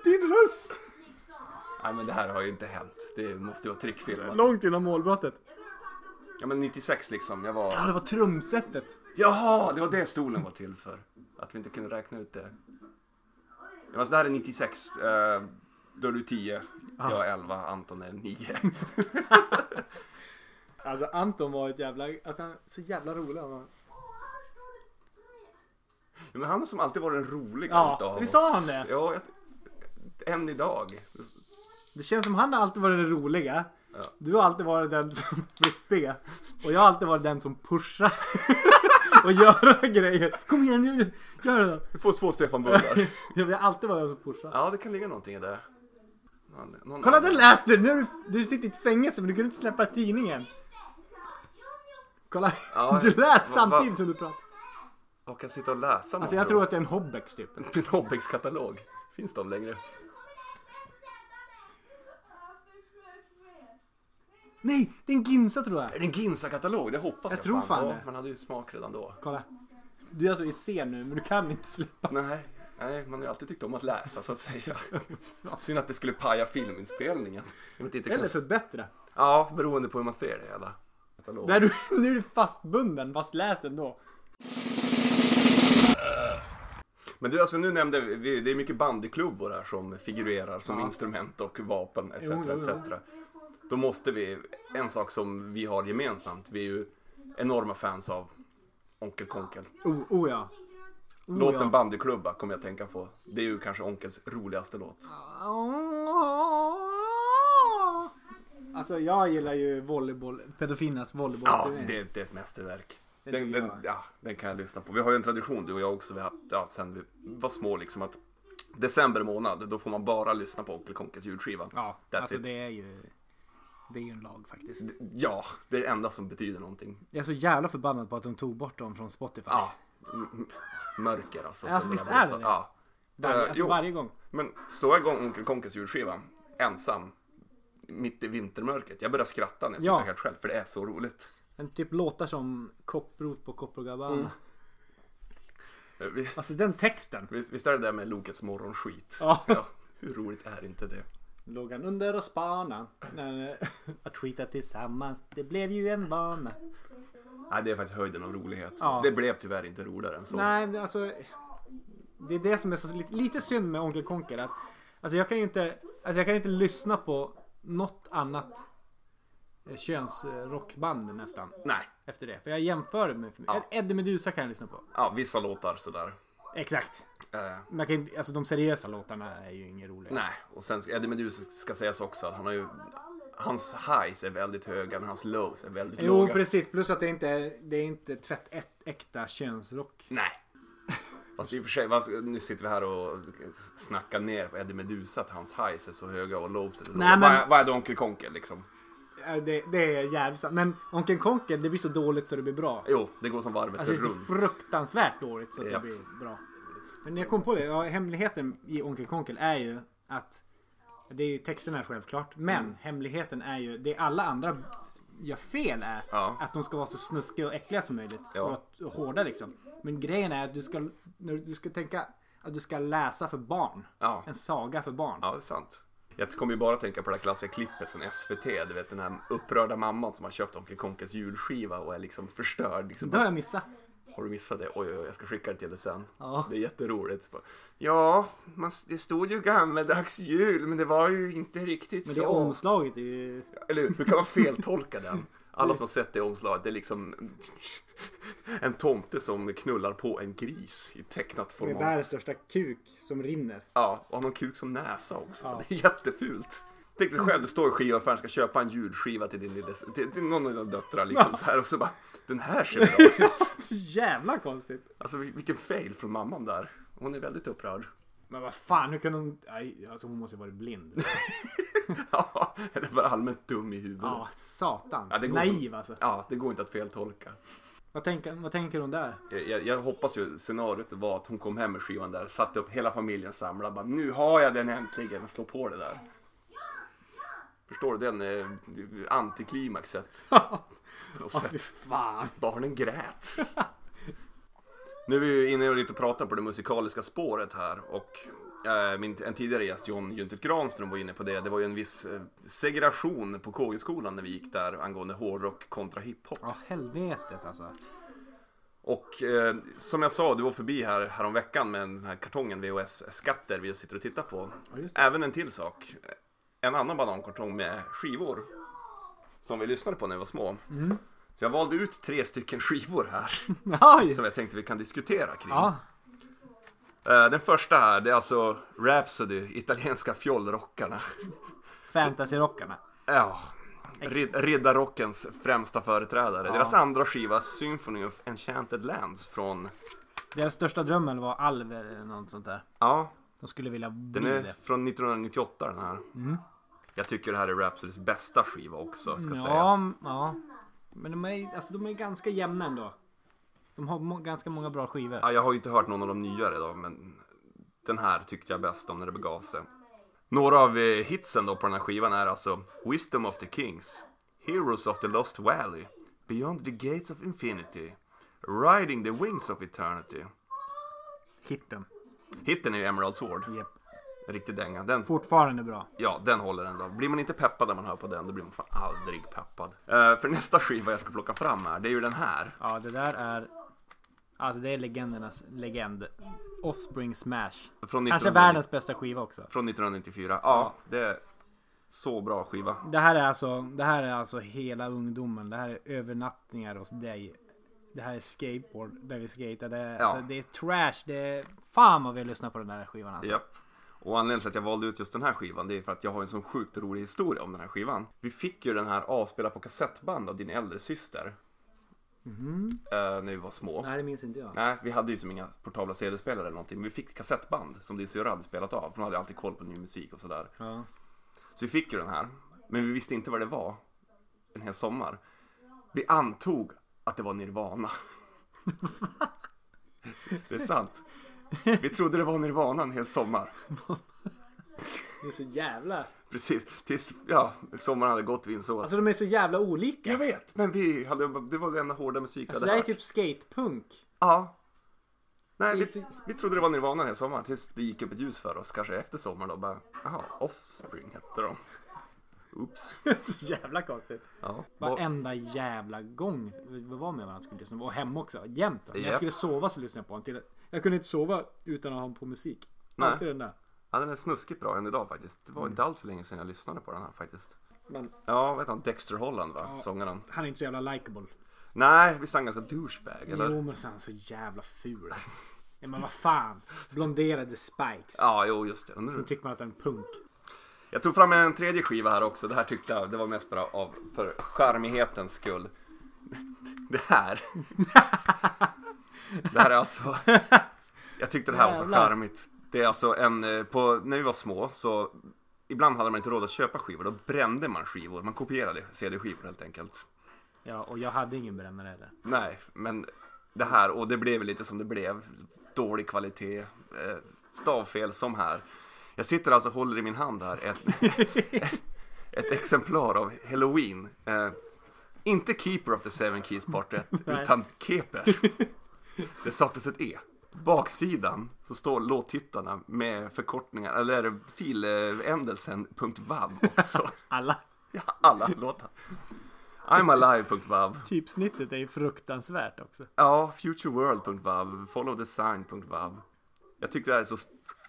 Speaker 2: Din röst!
Speaker 1: Nej men det här har ju inte hänt. Det måste ju vara trickfilmat.
Speaker 2: Långt innan målbrottet.
Speaker 1: Ja men 96 liksom, jag var...
Speaker 2: Ja, det var trumsetet.
Speaker 1: Jaha, det var det stolen var till för. Att vi inte kunde räkna ut det. Ja, men så det här är 96. Eh, då är du 10. Jag är 11, Anton är 9.
Speaker 2: Alltså Anton var ett jävla... Alltså han- så jävla rolig han var.
Speaker 1: Ja, men han har som alltid varit den roliga
Speaker 2: Ja,
Speaker 1: utav
Speaker 2: visst har
Speaker 1: oss.
Speaker 2: han det?
Speaker 1: Ja, jag... än idag.
Speaker 2: Det känns som han har alltid varit den roliga.
Speaker 1: Ja.
Speaker 2: Du har alltid varit den som flippiga. Och jag har alltid varit den som pushar. och gör grejer. Kom igen nu, gör det då.
Speaker 1: Du får två Stefan Bullar.
Speaker 2: Jag har alltid varit den som pushar.
Speaker 1: ja, det kan ligga någonting i det. Någon, någon
Speaker 2: Kolla
Speaker 1: annan-
Speaker 2: där läste du! Nu är du, du sitter i ett fängelse men du kunde inte släppa tidningen. Kolla,
Speaker 1: Ja,
Speaker 2: du
Speaker 1: va-
Speaker 2: läser
Speaker 1: va-
Speaker 2: samtidigt som du pratar.
Speaker 1: Och kan sitta och läsa
Speaker 2: Alltså jag tror att det är en Hobbex typ.
Speaker 1: Min Hobbex-katalog. Finns de längre?
Speaker 2: Nej, det är en Ginsa tror jag.
Speaker 1: Är det en Ginsa-katalog? Det hoppas jag.
Speaker 2: Jag tror fan
Speaker 1: Ja,
Speaker 2: det.
Speaker 1: Man hade ju smak redan då.
Speaker 2: Kolla. Du är alltså i scen nu men du kan inte släppa.
Speaker 1: Nej, nej man har ju alltid tyckt om att läsa så att säga. Synd att det skulle paja filminspelningen. Jag vet inte,
Speaker 2: Eller
Speaker 1: kanske-
Speaker 2: förbättra.
Speaker 1: Ja, beroende på hur man ser det hela. Katalog.
Speaker 2: Där du, nu är du fastbunden fast läs ändå.
Speaker 1: Men du, alltså, nu nämnde vi- vi, det är mycket bandyklubbor här som figurerar som instrument och vapen etc.
Speaker 2: Jo, jo, jo.
Speaker 1: etc. Då måste vi, en sak som vi har gemensamt, vi är ju enorma fans av Onkel Konkel.
Speaker 2: Oh, oh ja. Oh,
Speaker 1: Låten
Speaker 2: ja.
Speaker 1: Bandyklubba kommer jag att tänka på. Det är ju kanske Onkels roligaste låt.
Speaker 2: Alltså jag gillar ju volleyboll, pedofilernas volleyboll.
Speaker 1: Ja, det, det är ett mästerverk. Den,
Speaker 2: tycker
Speaker 1: den,
Speaker 2: jag.
Speaker 1: ja, den kan jag lyssna på. Vi har ju en tradition du och jag också, vi har haft ja, sen vi var små liksom att december månad, då får man bara lyssna på Onkel Konkes julskiva.
Speaker 2: Ja,
Speaker 1: That's
Speaker 2: alltså
Speaker 1: it.
Speaker 2: det är ju... Det är ju en lag faktiskt.
Speaker 1: Ja, det är det enda som betyder någonting.
Speaker 2: Jag är så jävla förbannad på att de tog bort dem från Spotify.
Speaker 1: Ja, m- m- mörker alltså.
Speaker 2: Alltså,
Speaker 1: som
Speaker 2: visst
Speaker 1: den här
Speaker 2: är det
Speaker 1: blåsan.
Speaker 2: det?
Speaker 1: Ja.
Speaker 2: Varje,
Speaker 1: Eh,
Speaker 2: alltså
Speaker 1: jo,
Speaker 2: varje gång.
Speaker 1: men slår jag igång Onkel Konkes julskiva, ensam, mitt i vintermörkret. Jag börjar skratta när jag
Speaker 2: Ja.
Speaker 1: sitter här själv, för det är så roligt.
Speaker 2: Men typ låtar som Kopprot på Kopprogabban.
Speaker 1: Mm. Eh, Vi,
Speaker 2: Alltså den texten.
Speaker 1: vi- visst är det där med Lokets morgonskit?
Speaker 2: Ja.
Speaker 1: Hur roligt är inte det?
Speaker 2: Låg han under och spana. Nej, nej. Att tweeta tillsammans, det blev ju en vana.
Speaker 1: Nej, det är faktiskt höjden av rolighet.
Speaker 2: Ja.
Speaker 1: Det blev tyvärr inte roligare än så.
Speaker 2: Nej, men alltså. Det är det som är så lite, lite synd med Onkel Konker. Att, alltså jag kan ju inte, alltså jag kan inte lyssna på något annat eh, könsrockband nästan.
Speaker 1: Nej.
Speaker 2: Efter det. För jag jämför det med...
Speaker 1: Ja.
Speaker 2: Eddie Meduza kan jag lyssna på.
Speaker 1: Ja, vissa låtar sådär.
Speaker 2: Exakt.
Speaker 1: Eh,
Speaker 2: Man kan, ju- alltså de seriösa låtarna är ju inget roliga.
Speaker 1: nej, och sen Eddie Meduza ska sägas också att han har ju... Hans highs är väldigt höga men hans lows är väldigt
Speaker 2: Jo
Speaker 1: låga.
Speaker 2: precis, plus att det inte är, det är inte tvätt ett, äkta könsrock.
Speaker 1: Nej. Fast i och för sig, vad- nu sitter vi här och snackar ner på Eddie Meduza att hans highs är så höga och lows är så
Speaker 2: Nej,
Speaker 1: låga.
Speaker 2: men-
Speaker 1: Vad är- Vad är det Onkel Konke liksom?
Speaker 2: Ja, Äh, Det, det är jävligt sant. Men Onkel Konke, det blir så dåligt så det blir bra.
Speaker 1: Jo, det går som varvet
Speaker 2: Alltså det är så
Speaker 1: runt.
Speaker 2: fruktansvärt dåligt så att det
Speaker 1: Japp.
Speaker 2: blir bra. Men jag kom på det, ja, hemligheten i Onkel Konkel är ju att det är ju texterna självklart, men
Speaker 1: Mm.
Speaker 2: hemligheten är ju det alla andra gör fel är
Speaker 1: Ja.
Speaker 2: att de ska vara så snuskiga och äckliga som möjligt.
Speaker 1: Ja.
Speaker 2: Och att- och hårda liksom. Men grejen är att du ska, när du ska tänka att du ska läsa för barn.
Speaker 1: Ja.
Speaker 2: En saga för barn.
Speaker 1: Ja, det är sant. Jag kommer ju bara tänka på det här klassiska klippet från SVT. Du vet den här upprörda mamman som har köpt Onkel Konkes julskiva och är liksom förstörd. Liksom,
Speaker 2: Då har jag missat.
Speaker 1: Har du missat det? Oj, oj, oj, jag ska skicka det till dig sen.
Speaker 2: Ja.
Speaker 1: Det är jätteroligt. Så bara, Ja, man, det stod ju gammeldags jul men det var ju inte riktigt
Speaker 2: Men det
Speaker 1: så.
Speaker 2: omslaget är ju...
Speaker 1: Eller hur? Hur kan man feltolka den? Alla som har sett det omslaget, det är liksom en tomte som knullar på en gris i tecknat
Speaker 2: Med
Speaker 1: format.
Speaker 2: världens största kuk som rinner.
Speaker 1: Ja, och har någon kuk som näsa också.
Speaker 2: Ja.
Speaker 1: Det är jättefult. Tänk dig själv, du står i skivaffären och ska köpa en julskiva till din lille, till, till någon av dina döttrar liksom så här och så bara Den här ser bra ut.
Speaker 2: Så jävla konstigt.
Speaker 1: Alltså vil- vilken fail från mamman där. Hon är väldigt upprörd.
Speaker 2: Men vad fan, hur kan hon... Nej, alltså hon måste ju varit blind.
Speaker 1: Ja, eller bara allmänt dum i huvudet.
Speaker 2: Ja, satan.
Speaker 1: Ja, det går
Speaker 2: Naiv
Speaker 1: som-
Speaker 2: alltså.
Speaker 1: Ja, det går inte att feltolka.
Speaker 2: Vad tänker, vad tänker hon där?
Speaker 1: Jag, jag, jag hoppas ju scenariot var att hon kom hem med skivan där, satte upp hela familjen samlad, bara nu har jag den äntligen, slå på det där. Förstår du den eh, antiklimaxet? Och
Speaker 2: Ja,
Speaker 1: så-
Speaker 2: fy fan.
Speaker 1: Barnen grät. nu är vi ju inne och lite pratar på det musikaliska spåret här och eh, min, en tidigare gäst John Juntet Granström var inne på det. Det var ju en viss eh, segregation på KG-skolan när vi gick där angående hårdrock kontra hiphop.
Speaker 2: Ja, helvetet alltså.
Speaker 1: Och eh, som jag sa, du var förbi här häromveckan med den här kartongen VHS-skatter vi sitter och tittar på.
Speaker 2: just
Speaker 1: Även en till sak. En annan banankartong med skivor. Som vi lyssnade på när vi var små.
Speaker 2: Mm.
Speaker 1: Så jag valde ut tre stycken skivor här.
Speaker 2: Oj!
Speaker 1: som jag tänkte vi kan diskutera kring.
Speaker 2: Ja,
Speaker 1: Eh, den första här, det är alltså Rhapsody, italienska fjollrockarna.
Speaker 2: fantasyrockarna.
Speaker 1: Ja. Rid- Riddarrockens främsta företrädare. Deras andra skiva, Symphony of Enchanted Lands från...
Speaker 2: Deras största dröm eller var alv eller något sånt där.
Speaker 1: Ja,
Speaker 2: De skulle vilja bli
Speaker 1: Den är
Speaker 2: det.
Speaker 1: från 1998 den här. Jag tycker det här är Rhapsodys bästa skiva också ska
Speaker 2: Ja,
Speaker 1: sägas.
Speaker 2: m- ja. Men de är, alltså, de är ganska jämna ändå. De har må, ganska många bra skivor.
Speaker 1: Ja, jag har ju inte hört någon av de nyare då men den här tyckte jag bäst om när det begav sig. Några av eh, hitsen då på den här skivan är alltså Wisdom of the Kings, Heroes of the Lost Valley, Beyond the Gates of Infinity, Riding the Wings of Eternity.
Speaker 2: Hitten.
Speaker 1: Hitten är ju Emerald Sword,
Speaker 2: Yep.
Speaker 1: en riktig dänga. Den
Speaker 2: Fortfarande bra.
Speaker 1: Ja, den håller ändå. Blir man inte peppad när man hör på den, då blir man fan aldrig peppad. Eh, för nästa skiva jag ska plocka fram här, det är ju den här.
Speaker 2: Ja, det där är... Alltså det är legendernas legend. Offspring Smash.
Speaker 1: Från
Speaker 2: Kanske
Speaker 1: 1990
Speaker 2: världens bästa skiva också.
Speaker 1: Från 1994. Ja, det är så bra skiva.
Speaker 2: Det här är alltså, det här är alltså hela ungdomen. Det här är övernattningar hos dig. Det här är skateboard där vi skater. Det är,
Speaker 1: Ja.
Speaker 2: alltså, det är trash. Det är, fan vad vi har lyssnat på den där skivan alltså.
Speaker 1: Japp. Och anledningen till att jag valde ut just den här skivan, det är för att jag har en sån sjukt rolig historia om den här skivan. Vi fick ju den här avspelad på kassettband av din äldre syster. Eh, när vi var små.
Speaker 2: Mm-hmm. Nej, det minns inte jag.
Speaker 1: Nej, vi hade ju som inga portabla CD-spelare eller någonting. Men vi fick kassettband som din syrra hade spelat av. För hon hade alltid koll på ny musik och sådär.
Speaker 2: Ja.
Speaker 1: Så vi fick ju den här. Men vi visste inte vad det var en hel sommar. Vi antog att det var Nirvana. det är sant. Vi trodde det var Nirvana en hel sommar.
Speaker 2: Det är så jävla...
Speaker 1: Precis, tills ja, sommaren hade gått vi insåg att...
Speaker 2: Alltså de är så jävla olika.
Speaker 1: Jag vet, men vi hade, det var den enda hårda musik vi
Speaker 2: Alltså
Speaker 1: hade
Speaker 2: det här är
Speaker 1: hört.
Speaker 2: typ skatepunk.
Speaker 1: Ja. Nej,
Speaker 2: Det
Speaker 1: vi,
Speaker 2: är så-
Speaker 1: vi trodde det var Nirvana hela sommaren tills det gick upp ett ljus för oss. Kanske efter sommaren då bara, jaha, Offspring hette de. Oops.
Speaker 2: så jävla konstigt.
Speaker 1: Ja.
Speaker 2: Varenda jävla gång vi var med varandra skulle lyssna på. Och hemma också. Jämt. Alltså, när jag
Speaker 1: Japp.
Speaker 2: skulle sova så lyssnade jag på den. Till, jag kunde inte sova utan att ha den på musik.
Speaker 1: Nej.
Speaker 2: Alltid den där.
Speaker 1: Ja, den är snuskigt bra än idag faktiskt. Det var inte allt för länge sedan jag lyssnade på den här faktiskt.
Speaker 4: Men
Speaker 1: Ja, vet han, Dexter Holland va? Sångaren.
Speaker 4: han är inte så jävla likeable.
Speaker 1: Nej, visst är han ganska douchebag eller?
Speaker 4: Jo men så är han så jävla ful. Ja, men vad fan. Blonderade spikes.
Speaker 1: Ja, jo just det. Undrar
Speaker 4: Då
Speaker 1: hur-
Speaker 4: tycker man att han är en punk.
Speaker 1: Jag tog fram en tredje skiva här också. Det här tyckte jag, det var mest bara av, för charmighetens skull. Det här. Det här är alltså, jag tyckte det här var så
Speaker 2: Jävlar.
Speaker 1: charmigt. Det är alltså en, eh, på, när vi var små så ibland hade man inte råd att köpa skivor. Då brände man skivor. Man kopierade CD-skivor helt enkelt.
Speaker 4: Ja och jag hade ingen brännare heller.
Speaker 1: Nej, men det här, och det blev lite som det blev. Dålig kvalitet, eh, stavfel som här. Jag sitter alltså och håller i min hand här ett, ett exemplar av Halloween. Eh, inte Keeper of the Seven Keys Part 1, utan Keper. Det saknas ett E. På Baksidan så står låttittarna med förkortningar, eller filändelsen .vav också.
Speaker 4: Alla.
Speaker 1: Ja, alla låtar. I'malive.vav.
Speaker 4: Typsnittet är ju fruktansvärt också.
Speaker 1: Ja, futureworld.vav, followdesign.vav. Jag tycker det här är så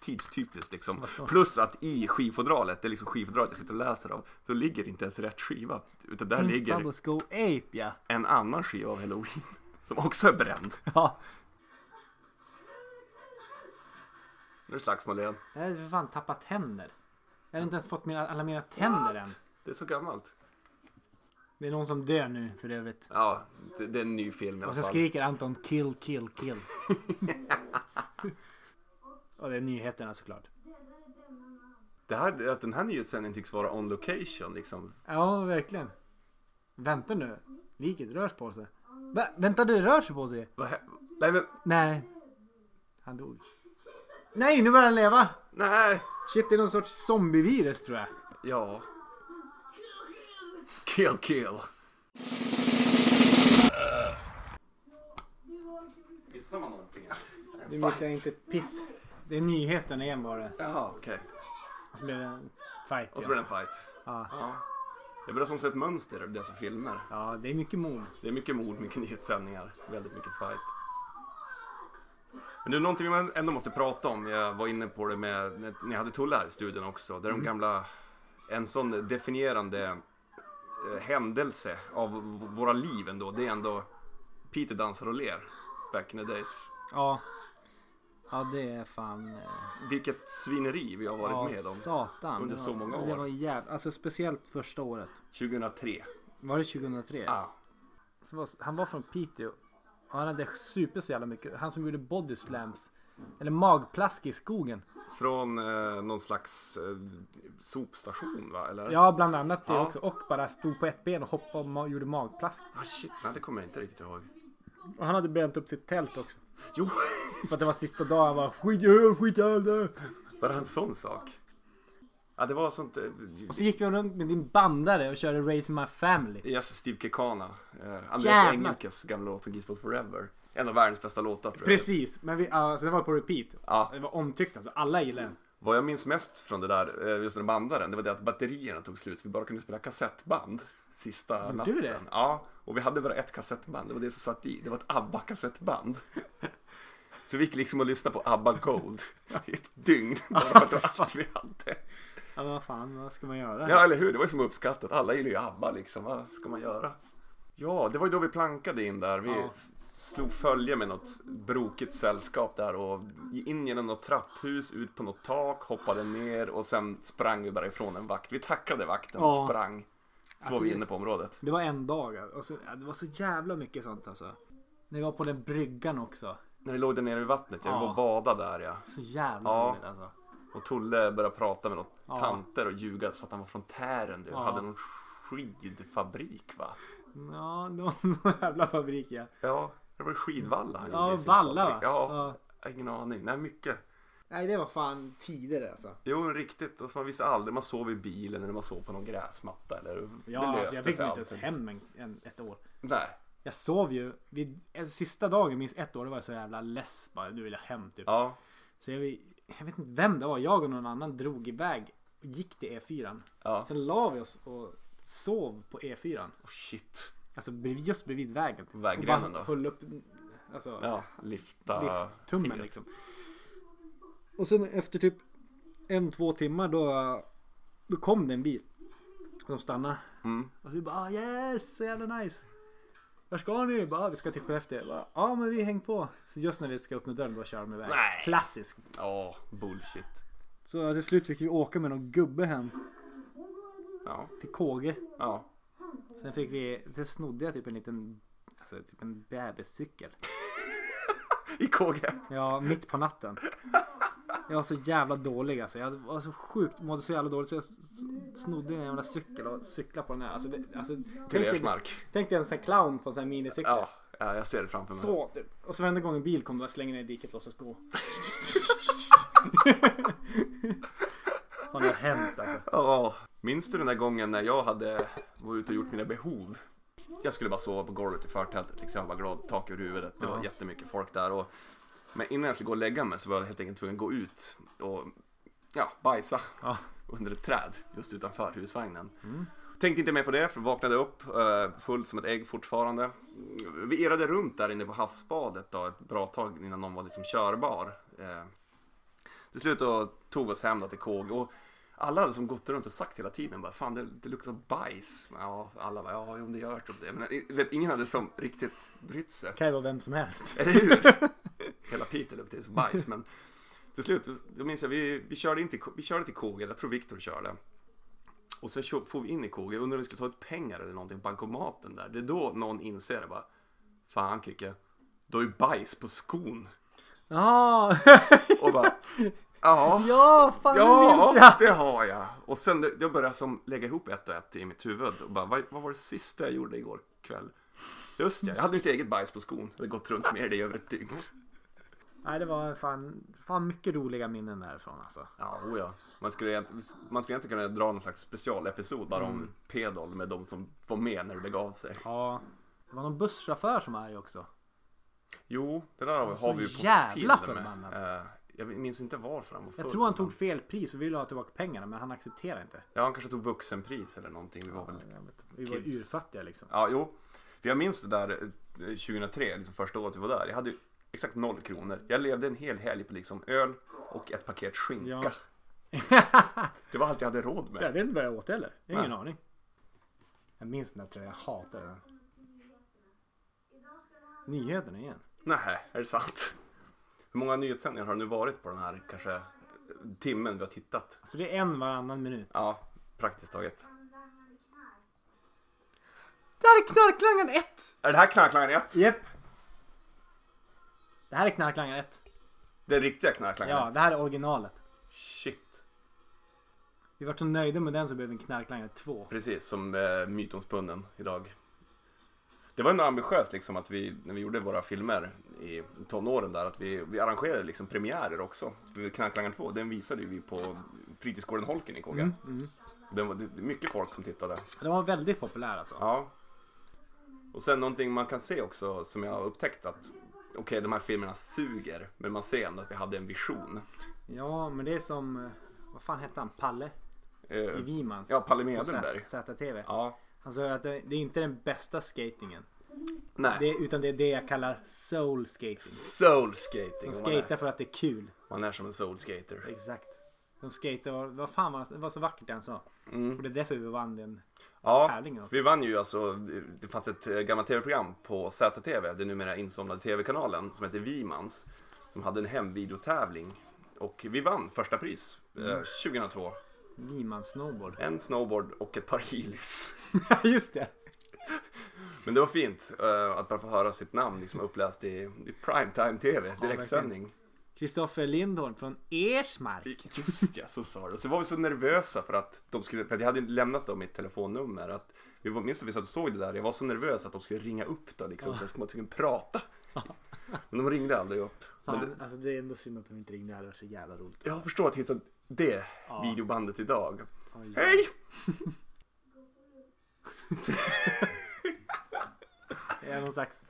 Speaker 1: tidstypiskt liksom. Plus att i skivfodralet, det är liksom skivfodralet jag sitter och läser av, då ligger inte ens rätt skiva. Utan
Speaker 2: Mm,
Speaker 1: där ligger
Speaker 2: Bubbles Go Ape ja.
Speaker 1: en annan skiva av Halloween. Som också är bränd.
Speaker 2: ja.
Speaker 1: Nu är det slagsmål igen.
Speaker 2: Jag hade för fan tappat tänder. Jag har inte ens fått mina, alla mina tänder än.
Speaker 1: Det är så gammalt.
Speaker 2: Det är någon som dör nu för övrigt.
Speaker 1: Ja, det, det är en ny film i alla
Speaker 2: Och så
Speaker 1: fall.
Speaker 2: skriker Anton kill, kill, kill. Och det är nyheterna såklart.
Speaker 1: Det här, att den här nyhetssändningen tycks vara on location liksom.
Speaker 2: Ja, verkligen. Vänta nu. Liket rör på sig. Va? Vänta, det rör sig på sig?
Speaker 1: Vad hä- Nej men,
Speaker 2: Nej. Han dog. Nej, nu börjar han leva!
Speaker 1: nej!
Speaker 2: Shit, det är någon sorts zombievirus tror jag.
Speaker 1: Ja. Kill kill. Gissar man någonting?
Speaker 2: Nu missar jag inte ett piss. Det är nyheterna igen bara.
Speaker 1: Jaha, okej.
Speaker 2: Och så blev det en fight.
Speaker 1: Och så
Speaker 2: ja.
Speaker 1: blir det en fight.
Speaker 2: Ja.
Speaker 1: Det börjar som se ett mönster av dessa filmer.
Speaker 2: ja, det är mycket mod.
Speaker 1: Det är mycket mord, mycket nyhetssändningar, väldigt mycket fight. Men det är någonting man ändå måste prata om. Jag var inne på det med när ni hade Tulle här i studion också. Det är
Speaker 2: Mm.
Speaker 1: de gamla, en sån definierande eh, händelse av v- våra liv ändå. Det är ändå Peter dansar och ler. Back in the days.
Speaker 2: Ja. Ja, det är fan... eh,
Speaker 1: Vilket svineri vi har varit
Speaker 2: ja,
Speaker 1: med om.
Speaker 2: satan.
Speaker 1: under
Speaker 2: det
Speaker 1: så
Speaker 2: var,
Speaker 1: många
Speaker 2: Det
Speaker 1: år.
Speaker 2: var jävligt. Alltså speciellt första året.
Speaker 1: 2003.
Speaker 2: Var det 2003?
Speaker 1: Ah.
Speaker 2: Så var, han var från Piteå. Och han hade supit så jävla mycket. Han som gjorde body slams. Eller magplask i skogen.
Speaker 1: Från eh, någon slags eh, sopstation va? Eller?
Speaker 2: Ja, bland annat det
Speaker 1: Ja.
Speaker 2: också. Och bara stod på ett ben och hoppade och ma- gjorde magplask.
Speaker 1: Ah, shit, nej det kommer jag inte riktigt ihåg.
Speaker 2: Och han hade bränt upp sitt tält också.
Speaker 1: Jo!
Speaker 2: För att det var sista dagen. Han bara skit i öl, skit i öl. det."
Speaker 1: Var det en sån sak? Ja, det var sånt... eh,
Speaker 2: Och så gick vi runt med din bandare och körde Raising My Family.
Speaker 1: Yes, Steve Kekana. Eh, Andreas
Speaker 2: Jävlar.
Speaker 1: Engelkes gamla låt om Gisbot Forever. En av världens bästa låtar tror jag.
Speaker 2: Precis, men vi, alltså det var på repeat.
Speaker 1: Ja.
Speaker 2: Det var omtyckt alltså, alla gillade den.
Speaker 1: Vad jag minns mest från det där, eh, just den bandaren, det var det att batterierna tog slut så vi bara kunde spela kassettband sista natten.
Speaker 2: du det?
Speaker 1: Ja, och vi hade bara ett kassettband, det var det som satt i. Det var ett ABBA-kassettband. Så vi gick liksom och lyssnade på ABBA Gold i ett dygn, bara för att det var allt vi hade.
Speaker 2: Ja men vad fan, vad ska man göra?
Speaker 1: Ja, eller hur? Det var ju som uppskattat. Alla gillar ju ABBA liksom. Vad ska man göra? Ja, det var ju då vi plankade in där. Vi s- slog följe med något brokigt sällskap där och in genom något trapphus, ut på något tak, hoppade ner och sen sprang vi bara ifrån en vakt. Vi tackade vakten och
Speaker 2: Ja. Alltså,
Speaker 1: sprang. Så var vi inne på området.
Speaker 2: Det var en dag och så, ja, det var så jävla mycket sånt alltså. När vi var på den bryggan också.
Speaker 1: När vi låg där nere vid vattnet, jag var
Speaker 2: Ja.
Speaker 1: och badade där ja.
Speaker 2: Så jävla
Speaker 1: Ja.
Speaker 2: roligt alltså.
Speaker 1: Och Tulle började prata med något
Speaker 2: Ja.
Speaker 1: tanter och ljuga så att han var från Tären. Du
Speaker 2: Ja.
Speaker 1: hade någon skidfabrik va?
Speaker 2: Ja, någon jävla fabrik ja.
Speaker 1: Ja, det var Skidvalla han
Speaker 2: Ja,
Speaker 1: gjorde i sin
Speaker 2: Valla va?
Speaker 1: fabrik. Ja,
Speaker 2: Ja.
Speaker 1: Jag har Ingen aning. Nej, mycket.
Speaker 2: Nej det var fan tider alltså.
Speaker 1: Jo, riktigt. Och så man visste aldrig. Man sov i bilen eller man sov på någon gräsmatta. Eller
Speaker 2: Ja, alltså,
Speaker 1: löste
Speaker 2: jag fick
Speaker 1: sig
Speaker 2: mig inte ens
Speaker 1: alltid.
Speaker 2: hem en, en, ett år.
Speaker 1: Nej.
Speaker 2: Jag sov ju, vid, eh, sista dagen minst ett år, då var jag så jävla less bara, nu vill jag hem typ.
Speaker 1: Ja.
Speaker 2: Så jag, jag vet inte vem det var, jag och någon annan drog iväg och gick till E4.
Speaker 1: Ja.
Speaker 2: Sen la vi oss och sov på E4.
Speaker 1: Oh, shit.
Speaker 2: Alltså bredvid- just bredvid vägen.
Speaker 1: Vägrenen
Speaker 2: och bara
Speaker 1: då?
Speaker 2: höll upp alltså,
Speaker 1: Ja, lifta.
Speaker 2: lifttummen
Speaker 1: fingret.
Speaker 2: liksom. Och sen efter typ en, två timmar då, då kom det en bil. Och de stannade.
Speaker 1: Mm.
Speaker 2: Och vi bara ah, yes, så jävla nice. Var ska ni? Bara, ah, vi ska till Skellefteå. Jag bara, Ja ah, men vi häng på. Så just när vi ska öppna dörren då kör de iväg.
Speaker 1: Nej.
Speaker 2: Klassisk.
Speaker 1: Ja, bullshit.
Speaker 2: Så till slut fick vi åka med någon gubbe hem
Speaker 1: Ja,
Speaker 2: till KG.
Speaker 1: ja.
Speaker 2: Sen fick vi, sen snodde jag typ en liten, alltså typ en bebiscykel.
Speaker 1: I KG.
Speaker 2: Ja, mitt på natten. Jag var så jävla dålig alltså. Jag var så sjukt, mådde så jävla dåligt så jag s- s- snodde en jävla cykel och cyklade på den här. Alltså, det, alltså, tänk, dig,
Speaker 1: Telersmark.
Speaker 2: tänk dig en sån här clown på en sån här minicykel.
Speaker 1: Ja, ja, jag ser det framför mig.
Speaker 2: Så typ. Och så varenda gång en bil kom bara slänger ner i diket och låtsas gå. Fan det var hemskt alltså.
Speaker 1: Ja, minns du den där gången när jag hade var ute och gjort mina behov? Jag skulle bara sova på golvet i förtältet, liksom. jag var bara glad, tak över huvudet. Det var jättemycket folk där. Och, men innan jag skulle gå och lägga mig så var jag helt enkelt tvungen att gå ut och ja, bajsa
Speaker 2: Ja.
Speaker 1: under ett träd just utanför husvagnen. Tänkte inte mer på det, för vaknade upp eh, full som ett ägg fortfarande. Vi irrade runt där inne på havsbadet då, ett bra tag innan någon var liksom körbar. Eh, till slut då tog vi oss hem då till KG och alla hade som gått runt och sagt hela tiden bara fan det, det luktar bajs. Men ja, alla bara ja, om det gör typ det. Men eh, vet, ingen hade som riktigt brytt sig.
Speaker 2: Kan ju vara vem som helst.
Speaker 1: Eller hur? Hela Piteå luktar ju som bajs men till slut, då minns jag, vi, vi, körde in till, vi körde till KG, jag tror Viktor körde. Och sen kör- for vi in i KG, undrar om vi skulle ta ut pengar eller någonting på bankomaten där. Det är då någon inser det bara, fan Kicke, du har ju bajs på skon.
Speaker 2: Ja,
Speaker 1: Och bara, ja.
Speaker 2: ja fan det minns jag.
Speaker 1: Ja, det har jag. Och sen det- jag började som lägga ihop ett och ett i mitt huvud och bara, vad, vad var det sista jag gjorde igår kväll? Just ja, jag hade mitt eget bajs på skon. Jag hade gått runt med det i över ett dygn.
Speaker 2: Nej det var fan, fan mycket roliga minnen därifrån alltså.
Speaker 1: Ja, oh ja. Man skulle, egent- man skulle egentligen kunna dra någon slags specialepisod bara om Pedol med de som var med när det begav sig.
Speaker 2: Ja. Det var någon busschaufför som var arg också.
Speaker 1: Jo, det där har vi, har vi ju på
Speaker 2: jävla
Speaker 1: film.
Speaker 2: förbannad.
Speaker 1: Eh, jag minns inte varför han var
Speaker 2: Jag
Speaker 1: full,
Speaker 2: tror han
Speaker 1: men-
Speaker 2: tog fel pris och ville ha tillbaka pengarna men han accepterade inte.
Speaker 1: Ja, han kanske tog vuxenpris eller någonting. Vi var väl
Speaker 2: Jag vet inte. Vi var
Speaker 1: Kids.
Speaker 2: urfattiga liksom.
Speaker 1: Ja, jo. För jag minns det där eh, 2003, liksom första året vi var där. Jag hade ju exakt noll kronor. Jag levde en hel helg på liksom öl och ett paket skinka.
Speaker 2: Ja.
Speaker 1: Det var allt jag hade råd
Speaker 2: Jag
Speaker 1: med.
Speaker 2: vet inte vad jag åt heller. Jag har ingen
Speaker 1: Nej.
Speaker 2: aning. Jag minns den där tröjan. Jag hatar den. Nyheterna igen.
Speaker 1: Nähä, är det sant? Hur många nyhetssändningar har det nu varit på den här kanske eh, timmen vi har tittat?
Speaker 2: Alltså det är en varannan minut.
Speaker 1: Ja, praktiskt taget.
Speaker 2: Där är Knarklangaren 1!
Speaker 1: Är det här knarklangaren 1?
Speaker 2: Jep. Det här är Knarklangaren 1.
Speaker 1: Den riktiga knarklangaren
Speaker 2: Ja,
Speaker 1: ett?
Speaker 2: det här är originalet.
Speaker 1: Shit.
Speaker 2: Vi var så nöjda med den så blev vi en Knarklangaren 2.
Speaker 1: Precis, som eh, mytomspunnen idag. Det var ändå ambitiöst liksom att vi, när vi gjorde våra filmer i tonåren där, att vi, vi arrangerade liksom premiärer också. Knarklangaren 2, den visade ju vi på fritidsgården Holken i Kåga.
Speaker 2: Mm,
Speaker 1: Den var, det, det är mycket folk som tittade.
Speaker 2: Den var väldigt populär alltså.
Speaker 1: Ja. Och sen någonting man kan se också som jag har upptäckt att okej, de här filmerna suger, men man ser ändå att vi hade en vision.
Speaker 2: Ja, men det är som... eh, Vad fan hette han? Palle?
Speaker 1: Eh,
Speaker 2: I Vimans.
Speaker 1: ja, Palle
Speaker 2: på Z-
Speaker 1: Medenberg.
Speaker 2: ZTV.
Speaker 1: Ja.
Speaker 2: Han sa att det, det är inte den bästa skatingen.
Speaker 1: Nej.
Speaker 2: Det, utan det är det jag kallar soul skating.
Speaker 1: Soul skating.
Speaker 2: De
Speaker 1: om man är-
Speaker 2: skater för att det är kul.
Speaker 1: Man är som en soul skater.
Speaker 2: Exakt. De skater var, vad fan var det var så vackert den sa.
Speaker 1: Mm.
Speaker 2: Och det är därför vi vann den.
Speaker 1: Ja,
Speaker 2: tävlingen också.
Speaker 1: vi vann ju alltså, det fanns ett eh, gammalt tv-program på ZTV, den numera insomnade tv-kanalen, som hette Vimans, som hade en hemvideotävling. Och vi vann första pris eh,
Speaker 2: Mm.
Speaker 1: 2002.
Speaker 2: Niman snowboard.
Speaker 1: En snowboard och ett par heelys.
Speaker 2: Just det.
Speaker 1: Men det var fint eh, att bara få höra sitt namn liksom uppläst i, i primetime-tv, direktsändning.
Speaker 2: Kristoffer Lindholm från Ersmark.
Speaker 1: Just ja, så sa du. Så var vi så nervösa för att de skulle, för att jag hade lämnat dem mitt telefonnummer. Att vi var, minns att vi satt och såg det där, jag var så nervös att de skulle ringa upp då liksom, så jag skulle man tvungen prata. Men de ringde aldrig upp. Men det,
Speaker 2: Fan, alltså det är ändå synd att de inte ringde. Det hade varit så jävla roligt.
Speaker 1: jag förstår att hitta det videobandet idag.
Speaker 2: Oj.
Speaker 1: Hej!
Speaker 2: Det är någon slags...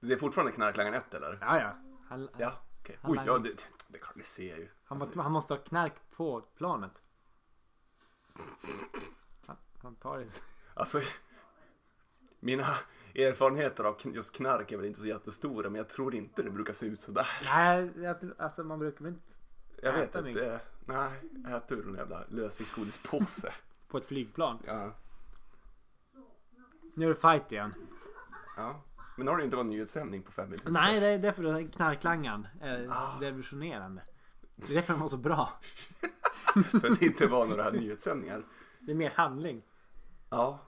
Speaker 1: Det är fortfarande knarklangaren 1 eller?
Speaker 2: Ja, ja. alltså- Han,
Speaker 1: Ja, okej.
Speaker 2: Han
Speaker 1: Oj, ja
Speaker 2: langar.
Speaker 1: det, det, är klart, det ser jag ju.
Speaker 2: han, måste, han måste ha knark på planet. Han, han tar det.
Speaker 1: Alltså, mina erfarenheter av kn- just knark är väl inte så jättestora, men jag tror inte det brukar se ut sådär.
Speaker 2: Nej, jag tror- alltså man brukar väl inte...
Speaker 1: Jag vet
Speaker 2: Äta
Speaker 1: inte.
Speaker 2: mycket.
Speaker 1: Nej, ät ur den jävla lösviktsgodispåse.
Speaker 2: På ett flygplan.
Speaker 1: Ja.
Speaker 2: Nu är det fight igen.
Speaker 1: ja. Men har det inte varit nyhetssändning på fem minuter?
Speaker 2: Nej, det är därför den här knarklangaren är revolutionerande. Det är därför den var så bra.
Speaker 1: För att det inte var några nyhetssändningar.
Speaker 2: Det är mer handling.
Speaker 1: Ja.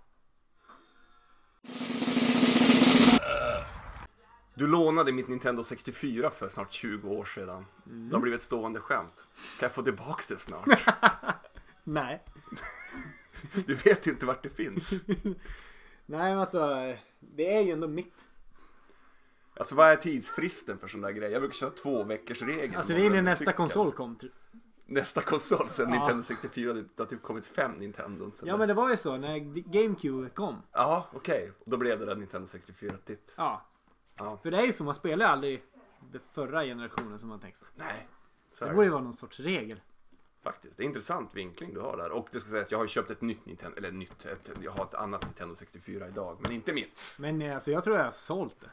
Speaker 1: Du lånade mitt Nintendo 64 för snart 20 år sedan.
Speaker 2: Mm.
Speaker 1: Det har blivit ett stående skämt. Kan jag få tillbaks det snart?
Speaker 2: Nej.
Speaker 1: Du vet inte vart det finns.
Speaker 2: Nej men alltså. Det är ju ändå mitt.
Speaker 1: Alltså vad är tidsfristen för sån där grej? Jag brukar köra två veckors regeln.
Speaker 2: Alltså det är när
Speaker 1: Månaden
Speaker 2: nästa
Speaker 1: cykeln.
Speaker 2: konsol kom. tr-
Speaker 1: Nästa konsol sen
Speaker 2: Ja.
Speaker 1: Nintendo 64. Det har typ kommit fem Nintendo. sen
Speaker 2: Ja
Speaker 1: dess.
Speaker 2: men det var ju så när GameCube kom.
Speaker 1: Ja, okej. Och Då blev det där Nintendo 64 ditt.
Speaker 2: Ja.
Speaker 1: Ja.
Speaker 2: För det är ju så, man spelar ju aldrig den förra generationen som man tänkt sig.
Speaker 1: Nej. Så
Speaker 2: Det
Speaker 1: är
Speaker 2: borde
Speaker 1: det.
Speaker 2: ju vara någon sorts regel.
Speaker 1: Faktiskt. Det är intressant vinkling du har där. Och det ska sägas, jag har ju köpt ett nytt Nintendo, eller nytt, ett, jag har ett annat Nintendo 64 idag, men inte mitt.
Speaker 2: Men eh, alltså jag tror jag har sålt det.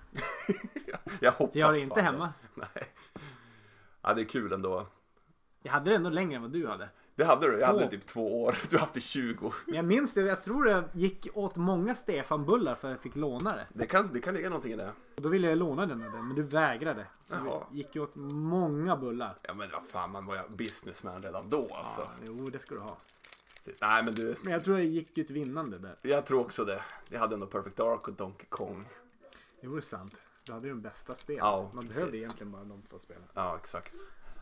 Speaker 1: Jag hoppas
Speaker 2: Jag har det inte
Speaker 1: fan
Speaker 2: hemma.
Speaker 1: Det. Nej. Ja, det är kul ändå.
Speaker 2: Jag hade det ändå längre än vad du hade.
Speaker 1: Det hade du, jag hade
Speaker 2: Åh.
Speaker 1: det typ två år. Du har haft det 20.
Speaker 2: Men jag minns det, jag tror det gick åt många Stefan-bullar för att jag fick låna det.
Speaker 1: Det kan, det kan ligga någonting i det.
Speaker 2: Och då ville jag låna den av dig, men du vägrade. Så
Speaker 1: Jaha.
Speaker 2: det gick ju åt många bullar.
Speaker 1: Ja men vad fan, man var ju businessman redan då alltså.
Speaker 2: Jo, det ska du ha.
Speaker 1: Så- Nej men du,
Speaker 2: Men jag tror det gick ut vinnande där.
Speaker 1: jag tror också det. Jag hade ändå Perfect Dark och Donkey Kong.
Speaker 2: Jo, det är sant. Du hade ju de bästa spelen.
Speaker 1: Ja,
Speaker 2: Man
Speaker 1: precis.
Speaker 2: behövde egentligen bara de två spelen.
Speaker 1: Ja, exakt.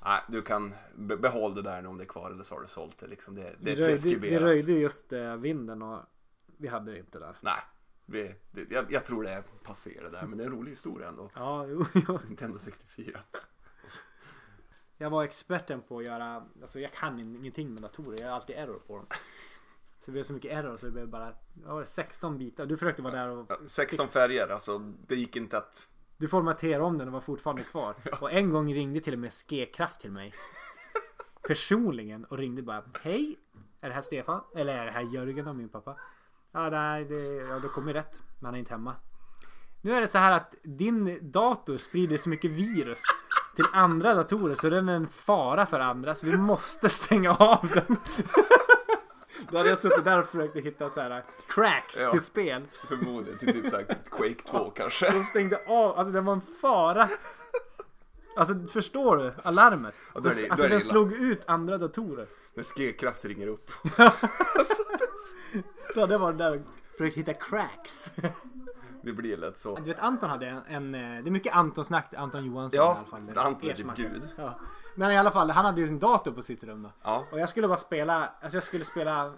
Speaker 1: Nej, du kan be- behålla det där nu om det är kvar eller så har du sålt det liksom. Det, det är
Speaker 2: Det röjde,
Speaker 1: preskriberat.
Speaker 2: det röjde ju just eh, vinden och vi hade det inte där.
Speaker 1: Nej, vi, det, jag, jag tror det är passé det där, men det är en rolig historia ändå.
Speaker 2: Ja, jo, jo.
Speaker 1: Nintendo 64.
Speaker 2: Jag var experten på att göra, alltså jag kan in- ingenting med datorer, jag gör alltid error på dem. Så det blev så mycket error så det blev bara vad var det, 16 bitar. Du försökte vara där och
Speaker 1: Ja, 16 färger, alltså det gick inte att...
Speaker 2: du formaterade om den och var fortfarande kvar. Och en gång ringde till och med G-kraft till mig. Personligen och ringde bara Hej! Är det här Stefan? Eller är det här Jörgen och min pappa? Ja, nej, det, ja, du kommer rätt. Men han är inte hemma. Nu är det så här att din dator sprider så mycket virus till andra datorer så den är en fara för andra så vi måste stänga av den. Då hade jag suttit där och försökt hitta så här cracks
Speaker 1: Ja.
Speaker 2: till spel.
Speaker 1: Förmodligen till typ såhär Quake 2 kanske.
Speaker 2: De stängde av, alltså det var en fara. Alltså förstår du alarmet?
Speaker 1: Ja, då är det- då
Speaker 2: alltså
Speaker 1: är det
Speaker 2: den
Speaker 1: illa.
Speaker 2: slog ut andra datorer.
Speaker 1: När Skekraft ringer upp.
Speaker 2: Ja det var det där försökte hitta cracks.
Speaker 1: Det blir lätt så.
Speaker 2: Du vet Anton hade en, en eh, det är mycket Anton-snack, Anton Johansson i
Speaker 1: Ja,
Speaker 2: alla fall.
Speaker 1: Anton är typ
Speaker 2: Ersmark.
Speaker 1: gud.
Speaker 2: Ja. Men i alla fall, han hade ju sin dator på sitt rum då.
Speaker 1: Ja.
Speaker 2: Och jag skulle bara spela, alltså jag skulle spela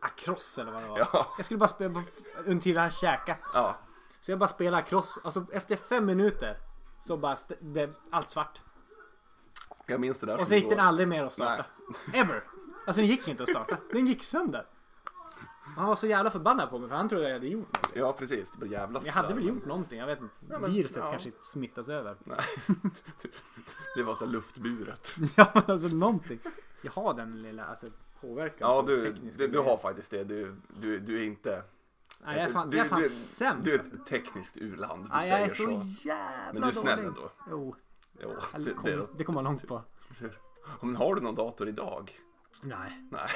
Speaker 2: Across eller vad det var.
Speaker 1: Ja.
Speaker 2: Jag skulle bara spela until han käkade.
Speaker 1: Ja,
Speaker 2: Så jag bara spelade cross. Alltså efter fem minuter så bara st- blev allt svart.
Speaker 1: jag minns det där
Speaker 2: Och så
Speaker 1: som
Speaker 2: gick
Speaker 1: igår.
Speaker 2: den aldrig mer att starta. Ever! Alltså den gick inte att starta. Den gick sönder. Och Han var så jävla förbannad på mig för han trodde jag hade gjort något.
Speaker 1: Ja, precis. Det blir jävla
Speaker 2: Jag hade
Speaker 1: sådär.
Speaker 2: väl gjort någonting, jag vet inte.
Speaker 1: men-
Speaker 2: Viruset
Speaker 1: ja.
Speaker 2: kanske inte smittas över.
Speaker 1: Nej. Det var så här luftburet.
Speaker 2: Ja men alltså någonting. Jag har den lilla alltså, påverkan.
Speaker 1: Ja,
Speaker 2: på
Speaker 1: du,
Speaker 2: tekniska
Speaker 1: du, du
Speaker 2: grejer.
Speaker 1: har faktiskt det. Du, du, du är inte...
Speaker 2: Nej, jag är fan,
Speaker 1: du,
Speaker 2: jag är fan
Speaker 1: du,
Speaker 2: sämst.
Speaker 1: Du är ett tekniskt urland. Vi
Speaker 2: Nej, jag
Speaker 1: säger
Speaker 2: är så,
Speaker 1: så.
Speaker 2: jävla
Speaker 1: Men du är snäll
Speaker 2: dålig.
Speaker 1: ändå.
Speaker 2: Jo,
Speaker 1: Jo,
Speaker 2: det,
Speaker 1: det, det,
Speaker 2: kom, det kommer man långt på.
Speaker 1: Men har du någon dator idag?
Speaker 2: Nej,
Speaker 1: Nej.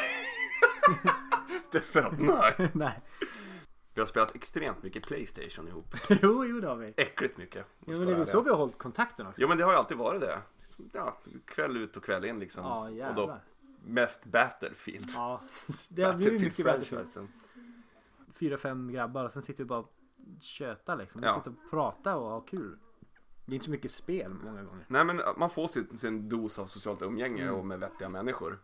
Speaker 1: Desperat nej.
Speaker 2: nej.
Speaker 1: Vi har spelat extremt mycket Playstation ihop.
Speaker 2: Jo, jo det har vi.
Speaker 1: Äckligt mycket. om jag
Speaker 2: Ja,
Speaker 1: ska
Speaker 2: men det är
Speaker 1: vara
Speaker 2: väl så
Speaker 1: ärlig.
Speaker 2: vi har hållit kontakten också.
Speaker 1: Ja men det har ju alltid varit det. Ja, kväll ut och kväll in liksom.
Speaker 2: Ja,
Speaker 1: och
Speaker 2: jävlar.
Speaker 1: då mest Battlefield.
Speaker 2: Ja, det har blivit mycket bättre.
Speaker 1: Battlefield-franchisen.
Speaker 2: fyra, fem grabbar och sen sitter vi bara och tjötar liksom. Vi
Speaker 1: Ja.
Speaker 2: sitter och pratar och har kul. Det är inte så mycket spel många gånger.
Speaker 1: Nej men man får sin, sin dos av socialt umgänge
Speaker 2: Mm.
Speaker 1: och med vettiga människor.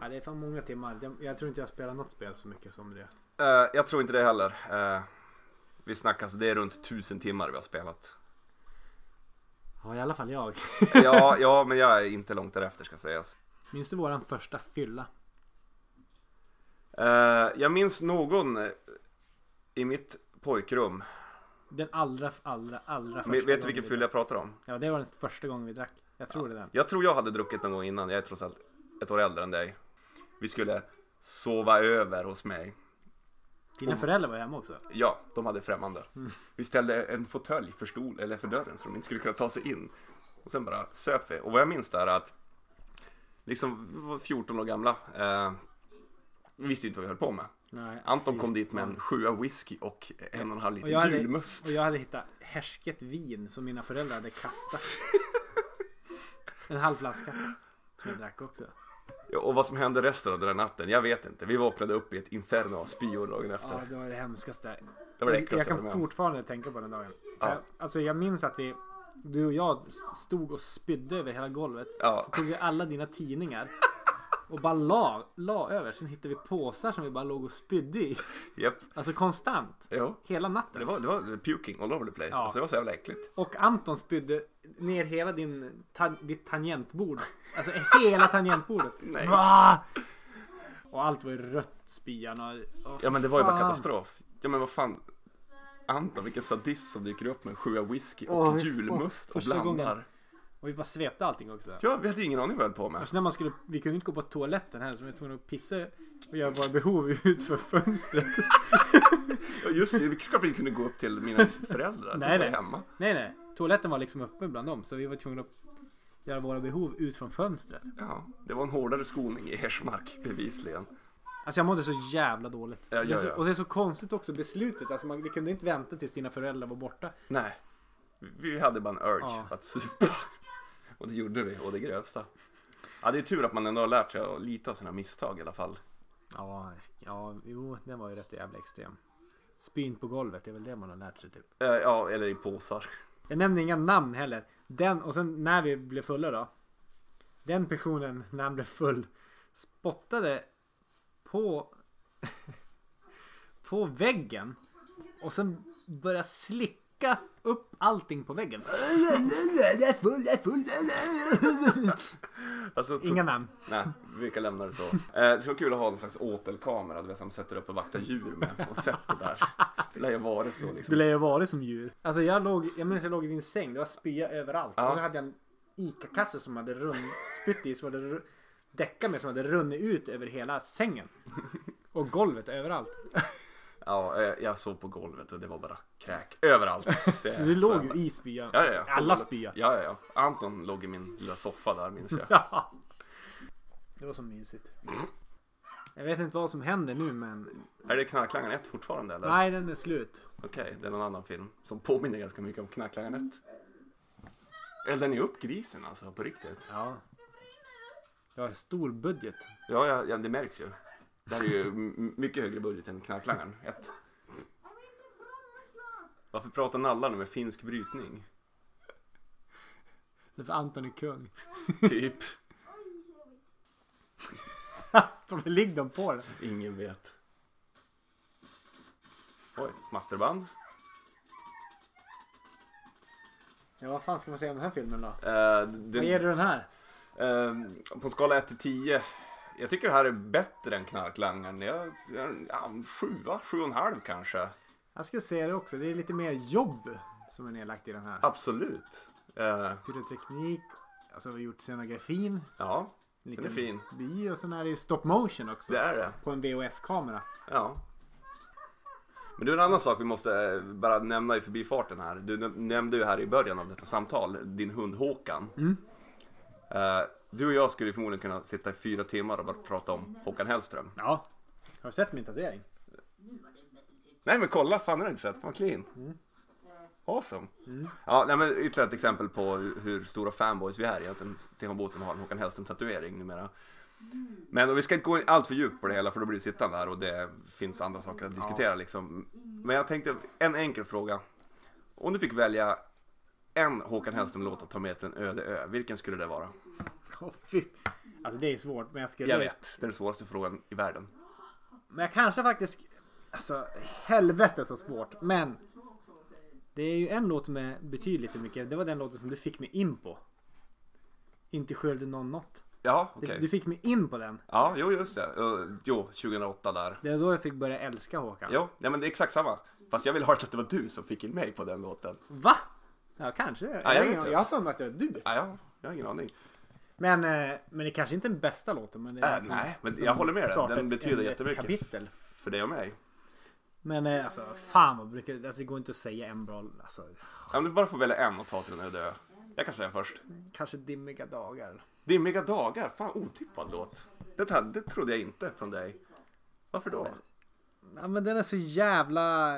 Speaker 2: Ja, det är fan många timmar. Jag, jag tror inte jag spelar något spel så mycket som det.
Speaker 1: Eh, jag tror inte det heller. Eh, vi snackar så det är runt tusen timmar vi har spelat.
Speaker 2: Ja, i alla fall jag.
Speaker 1: ja, ja, men jag är inte långt därefter ska sägas.
Speaker 2: Minns du våran första fylla?
Speaker 1: Eh, jag minns någon eh, i mitt pojkrum.
Speaker 2: Den allra, allra, allra första
Speaker 1: Men vet
Speaker 2: gången
Speaker 1: du vilken
Speaker 2: vi
Speaker 1: fylla
Speaker 2: drack.
Speaker 1: jag pratar om?
Speaker 2: Ja, det var den första gången vi drack. Jag tror det är den.
Speaker 1: Jag tror jag hade druckit någon gång innan. Jag är trots allt ett år äldre än dig. Vi skulle sova över hos mig.
Speaker 2: Dina föräldrar var hemma också.
Speaker 1: Ja, de hade främmande. Vi ställde en fåtölj för stol eller för dörren så de inte skulle kunna ta sig in. Och sen bara söp vi. Och vad jag minns där är att liksom vi var 14 år gamla. Eh, vi visste ju inte vad vi höll på med.
Speaker 2: Nej,
Speaker 1: Anton
Speaker 2: fy
Speaker 1: kom dit med en
Speaker 2: fan.
Speaker 1: sjua whisky och en och en halv liter
Speaker 2: Och jag, hade,
Speaker 1: julmust.
Speaker 2: och jag hade hittat härsket vin som mina föräldrar hade kastat. en halv flaska. Som jag drack också.
Speaker 1: Ja, Och vad som hände resten av den där natten, jag vet inte. Vi vaknade upp i ett inferno av spyor dagen efter.
Speaker 2: Ja, det var det hemskaste.
Speaker 1: det var det
Speaker 2: jag
Speaker 1: äckligaste jag
Speaker 2: kan
Speaker 1: varit med om.
Speaker 2: fortfarande tänka på den dagen.
Speaker 1: Ja.
Speaker 2: Jag, alltså jag minns att vi, du och jag stod och spydde över hela golvet.
Speaker 1: Ja.
Speaker 2: Så tog vi alla dina tidningar och bara la, la över. Sen hittade vi påsar som vi bara låg och spydde i.
Speaker 1: Japp.
Speaker 2: Alltså konstant.
Speaker 1: Jo.
Speaker 2: Hela natten.
Speaker 1: Det var, det var puking all over the place.
Speaker 2: Ja.
Speaker 1: Alltså, det var så jävla äckligt.
Speaker 2: Och Anton spydde ner hela din, ta, ditt tangentbord. Alltså hela tangentbordet.
Speaker 1: Nej.
Speaker 2: Va? Och allt var ju rött spyan och... och
Speaker 1: Ja men det var ju bara
Speaker 2: fan.
Speaker 1: katastrof. Ja men vad fan. Anton vilken sadist som dyker upp med en sjua whisky och
Speaker 2: Åh, fy fan.
Speaker 1: julmust och
Speaker 2: Första gången.
Speaker 1: blandar.
Speaker 2: Och vi bara svepte allting också.
Speaker 1: Ja vi hade ju ingen aning vad vi höll på med.
Speaker 2: Alltså när man skulle, vi kunde inte gå på toaletten heller så vi var tvungna att pissa och göra våra behov ut för fönstret.
Speaker 1: Ja, Just det, vi kanske inte kunde gå upp till mina föräldrar. De
Speaker 2: Nej,
Speaker 1: var
Speaker 2: nej.
Speaker 1: hemma.
Speaker 2: nej nej, toaletten var liksom öppen bland dem så vi var tvungna att göra våra behov ut från fönstret.
Speaker 1: Ja, det var en hårdare skolning i Ersmark bevisligen.
Speaker 2: Alltså jag mådde så jävla dåligt.
Speaker 1: Ja, ja,
Speaker 2: Det är så,
Speaker 1: ja.
Speaker 2: och det är så konstigt också beslutet, alltså man, vi kunde inte vänta tills dina föräldrar var borta.
Speaker 1: Nej, vi hade bara en urge
Speaker 2: Ja.
Speaker 1: att supa. Och det gjorde vi, och det grövsta. Ja, det är tur att man ändå har lärt sig att lita av sina misstag i alla fall.
Speaker 2: Ja, ja, jo, den var ju rätt jävla extrem. Spyn på golvet, det är väl det man har lärt sig typ.
Speaker 1: Eh, Ja, eller i påsar.
Speaker 2: Jag nämner inga namn heller. Den och sen när vi blev fulla då. Den personen när han blev full spottade på på väggen och sen började slicka upp allting på väggen.
Speaker 8: Jag är full, jag är full.
Speaker 1: Alltså,
Speaker 2: Inga namn.
Speaker 1: Nej, vi kan lämna det så. Eh, det skulle vara kul att ha någon slags åtelkamera, du vet, som sätter upp och vaktar djur med och sätter där. Det lär ju vara så
Speaker 2: Det
Speaker 1: liksom.
Speaker 2: lär ju vara som djur. Alltså jag låg, jag minns jag låg i din säng. Det var spya överallt.
Speaker 1: Ja.
Speaker 2: Och så hade jag en ICA-kasse som hade run, spytt i, som hade ru- däckat med, som hade runnit ut över hela sängen. Och golvet överallt.
Speaker 1: Ja, eh, jag sov på golvet och det var bara kräk överallt. Det är
Speaker 2: Så du
Speaker 1: Eh, så
Speaker 2: låg
Speaker 1: jävla-
Speaker 2: ju i spyan.
Speaker 1: Ja, ja, ja.
Speaker 2: Alla spya.
Speaker 1: Ja, ja, ja. Anton låg i min lilla soffa där minns jag.
Speaker 2: Ja. Det var så mysigt. Jag vet inte vad som händer nu men...
Speaker 1: Är det Knarklangaren 1 fortfarande eller?
Speaker 2: Nej den är slut.
Speaker 1: Okej, det är någon annan film som påminner ganska mycket om Knarklangaren 1. Eldar ni upp grisen alltså på riktigt?
Speaker 2: Ja. Jag har stor budget.
Speaker 1: Ja, ja, ja det märks ju. Det här är ju m- mycket högre budget än Knarklangaren 1. Varför pratar nallarna med finsk brytning?
Speaker 2: Det är för Anton är kung.
Speaker 1: Typ.
Speaker 2: Varför ligger de på den?
Speaker 1: Ingen vet. Oj, smatterband.
Speaker 2: Ja vad fan ska man säga om den här filmen då?
Speaker 1: Eh,
Speaker 2: Vad ger
Speaker 1: den,
Speaker 2: du den här?
Speaker 1: Ehm, på en skala 1 till 10. Jag tycker det här är bättre än Knarklangaren. Jag, jag, ja, en sjua, sju och en halv kanske.
Speaker 2: Jag skulle säga det också. Det är lite mer jobb som är nedlagt i den här.
Speaker 1: Absolut. Eh,
Speaker 2: Pyroteknik. Alltså vi har gjort scenografin.
Speaker 1: ja,
Speaker 2: En
Speaker 1: den är fin.
Speaker 2: Bi och sen är det stop motion också.
Speaker 1: Det är det.
Speaker 2: På en VHS-kamera.
Speaker 1: Ja. Men det är en annan sak vi måste eh, bara nämna i förbifarten här. Du näm- nämnde ju här i början av detta samtal din hund Håkan. Eh, du och jag skulle ju förmodligen kunna sitta i fyra timmar och bara prata om Håkan Hellström.
Speaker 2: Ja. Har du sett min tatuering?
Speaker 1: Nej men kolla, fan det har jag inte sett. Fan clean. Awesome. Ja, nej, men ytterligare ett exempel på hu- hur stora fanboys vi är egentligen. Stefan Botham har en Håkan Hellström-tatuering numera. Men och vi ska inte gå in allt för djupt på det hela för då blir det sittande här och det finns andra saker att diskutera liksom. Men jag tänkte en enkel fråga. Om du fick välja en Håkan Hellström-låt att ta med till en öde ö, vilken skulle det vara?
Speaker 2: Åh, fy. Alltså det är svårt men jag skulle...
Speaker 1: Jag vet, det är den svåraste frågan i världen.
Speaker 2: Men jag kanske faktiskt... Alltså helvete så svårt. Men. Det är ju en låt som är- betyder lite mycket. Det var den låten som du fick mig in på. Inte skölde någon något.
Speaker 1: Ja,
Speaker 2: Det-
Speaker 1: okej.
Speaker 2: Du fick mig in på den.
Speaker 1: Ja, jo just det. Eh, Jo, 2008 där.
Speaker 2: Det är då jag fick börja älska Håkan.
Speaker 1: Jo, ja, men det är exakt samma. Fast jag vill ha det att det var du som fick in mig på den låten.
Speaker 2: Va? Ja kanske.
Speaker 1: jag
Speaker 2: jag,
Speaker 1: vet
Speaker 2: jag,
Speaker 1: inte.
Speaker 2: har för mig att det var du.
Speaker 1: Ja, ja, jag har ingen aning.
Speaker 2: Men, eh, men det kanske inte är den bästa låten. Men det är
Speaker 1: Äh,
Speaker 2: den som-
Speaker 1: nej, men
Speaker 2: som
Speaker 1: jag håller med dig.
Speaker 2: startar
Speaker 1: Den
Speaker 2: ett-
Speaker 1: betyder
Speaker 2: ett
Speaker 1: jättemycket.
Speaker 2: Kapitel.
Speaker 1: För dig och mig.
Speaker 2: Men eh, alltså fan vad brukar... Alltså, det går inte att säga en bra... Alltså,
Speaker 1: Om du bara får välja en och ta till en öde ö. Jag kan säga först.
Speaker 2: Kanske dimmiga dagar.
Speaker 1: Dimmiga dagar, fan otippad låt. Det, här, det trodde jag inte från dig. Varför då?
Speaker 2: Ja, men den är så jävla...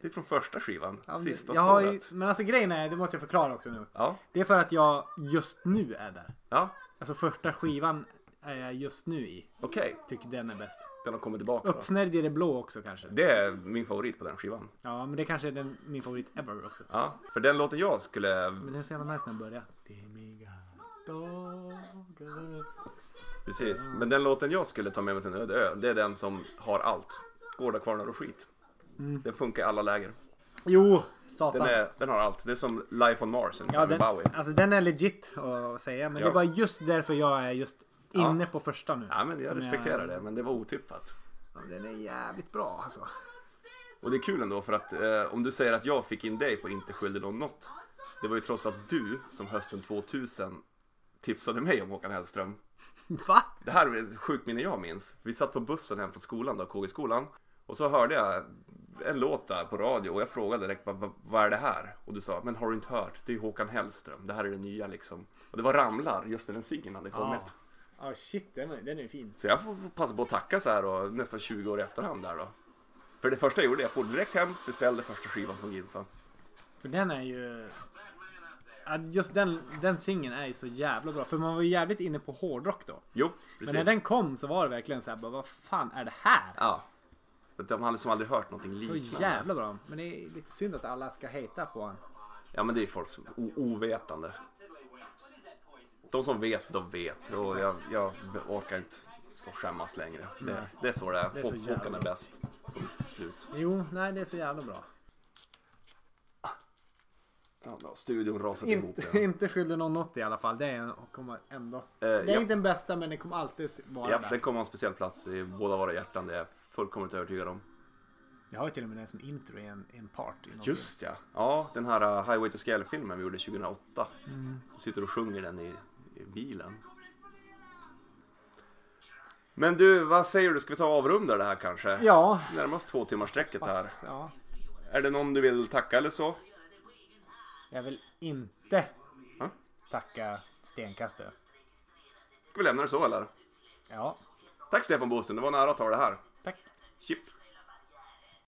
Speaker 1: Det är från första skivan,
Speaker 2: Ja, men-
Speaker 1: sista
Speaker 2: jag har ju,
Speaker 1: spåret.
Speaker 2: Men alltså grejen är, det måste jag förklara också nu.
Speaker 1: Ja,
Speaker 2: Det är för att jag just nu är där.
Speaker 1: ja,
Speaker 2: Alltså första skivan är jag just nu i.
Speaker 1: okej.
Speaker 2: Tycker den är bäst.
Speaker 1: Den har kommit tillbaka. då.
Speaker 2: Uppsnärjd i det blå också kanske.
Speaker 1: Det är min favorit på den skivan.
Speaker 2: Ja, men det kanske är den, min favorit ever också.
Speaker 1: Ja, för den låten jag skulle...
Speaker 2: Men det är så jävla nice när den börjar. Dimmiga dagar.
Speaker 1: Precis,
Speaker 2: Eh.
Speaker 1: men den låten jag skulle ta med mig till en öde ö, det är den som har allt. Gårdar, kvarnar och skit.
Speaker 2: Mm.
Speaker 1: Den funkar i alla läger.
Speaker 2: Jo,
Speaker 1: Den,
Speaker 2: satan.
Speaker 1: är, den har allt. Det är som Life on Mars, en
Speaker 2: ja,
Speaker 1: David
Speaker 2: den,
Speaker 1: Bowie.
Speaker 2: alltså, den är legit att säga. Men
Speaker 1: Ja.
Speaker 2: det är bara just därför jag är just
Speaker 1: Ja.
Speaker 2: inne på första nu.
Speaker 1: Ja, men jag
Speaker 2: Som
Speaker 1: respekterar det, men det var otippat.
Speaker 2: Ja, Den är jävligt bra alltså.
Speaker 1: Och det är kul ändå för att eh, om du säger att jag fick in dig på Inte skyldig någon något. Det var ju trots att du som hösten 2000 tipsade mig om Håkan Hellström.
Speaker 2: Va?
Speaker 1: Det här är ett sjukt minne jag minns. Vi satt på bussen hem från skolan då, KG-skolan. Och så hörde jag en låt där på radio och jag frågade direkt "Va- va- vad är det här? Och du sa, men har du inte hört? Det är ju Håkan Hellström, det här är det nya liksom. Och det var Ramlar, just när den singeln hade kommit.
Speaker 2: Ja, shit den är, den är fin.
Speaker 1: Så jag får får passa på att tacka så här och nästan 20 år i efterhand där då. För det första jag gjorde, jag for direkt hem, beställde första skivan från Ginsa.
Speaker 2: För den är ju... Ja, Just den, den singeln är ju så jävla bra. För man var ju jävligt inne på hårdrock då.
Speaker 1: Jo, precis.
Speaker 2: Men när den kom så var det verkligen så här, bara, vad fan är det här?
Speaker 1: Ja. För De hade som aldrig hört någonting
Speaker 2: Så
Speaker 1: liknande.
Speaker 2: jävla bra. Men det är lite synd att alla ska hejta på honom.
Speaker 1: Ja men det är folk som o- ovetande. De som vet, de vet. Och jag, jag orkar inte så skämmas längre. Det, det är så det är.
Speaker 2: är så
Speaker 1: Hå-
Speaker 2: jävla
Speaker 1: Håkan är
Speaker 2: bra.
Speaker 1: bäst. Punkt slut.
Speaker 2: Jo, nej det är så jävla bra.
Speaker 1: Ja, då har studion rasat ihop
Speaker 2: Inte,
Speaker 1: igen.
Speaker 2: inte skyller någon något i alla fall. Det är en, kommer ändå. det är
Speaker 1: ja.
Speaker 2: inte den bästa men den kommer alltid vara
Speaker 1: Ja,
Speaker 2: där.
Speaker 1: den kommer ha en speciell plats i båda våra hjärtan. Det är jag fullkomligt övertygad om.
Speaker 2: Jag har ju till och med den som intro i en, i en part. I någon
Speaker 1: Just ja. Ja, den här uh, Highway to Scale-filmen vi gjorde 2008. Du sitter och sjunger den i, i bilen. Men du, vad säger du? Ska vi ta och avrunda det här kanske?
Speaker 2: film. Ja.
Speaker 1: Närmar oss två timmars sträcket här.
Speaker 2: Pass, ja.
Speaker 1: Är det någon du vill tacka eller så?
Speaker 2: Jag vill inte
Speaker 1: Ja.
Speaker 2: tacka stenkastet.
Speaker 1: Ska vi lämna det så eller?
Speaker 2: Ja,
Speaker 1: Tack Stefan Bosen, det var nära att ta det här.
Speaker 2: tack.
Speaker 1: Chip!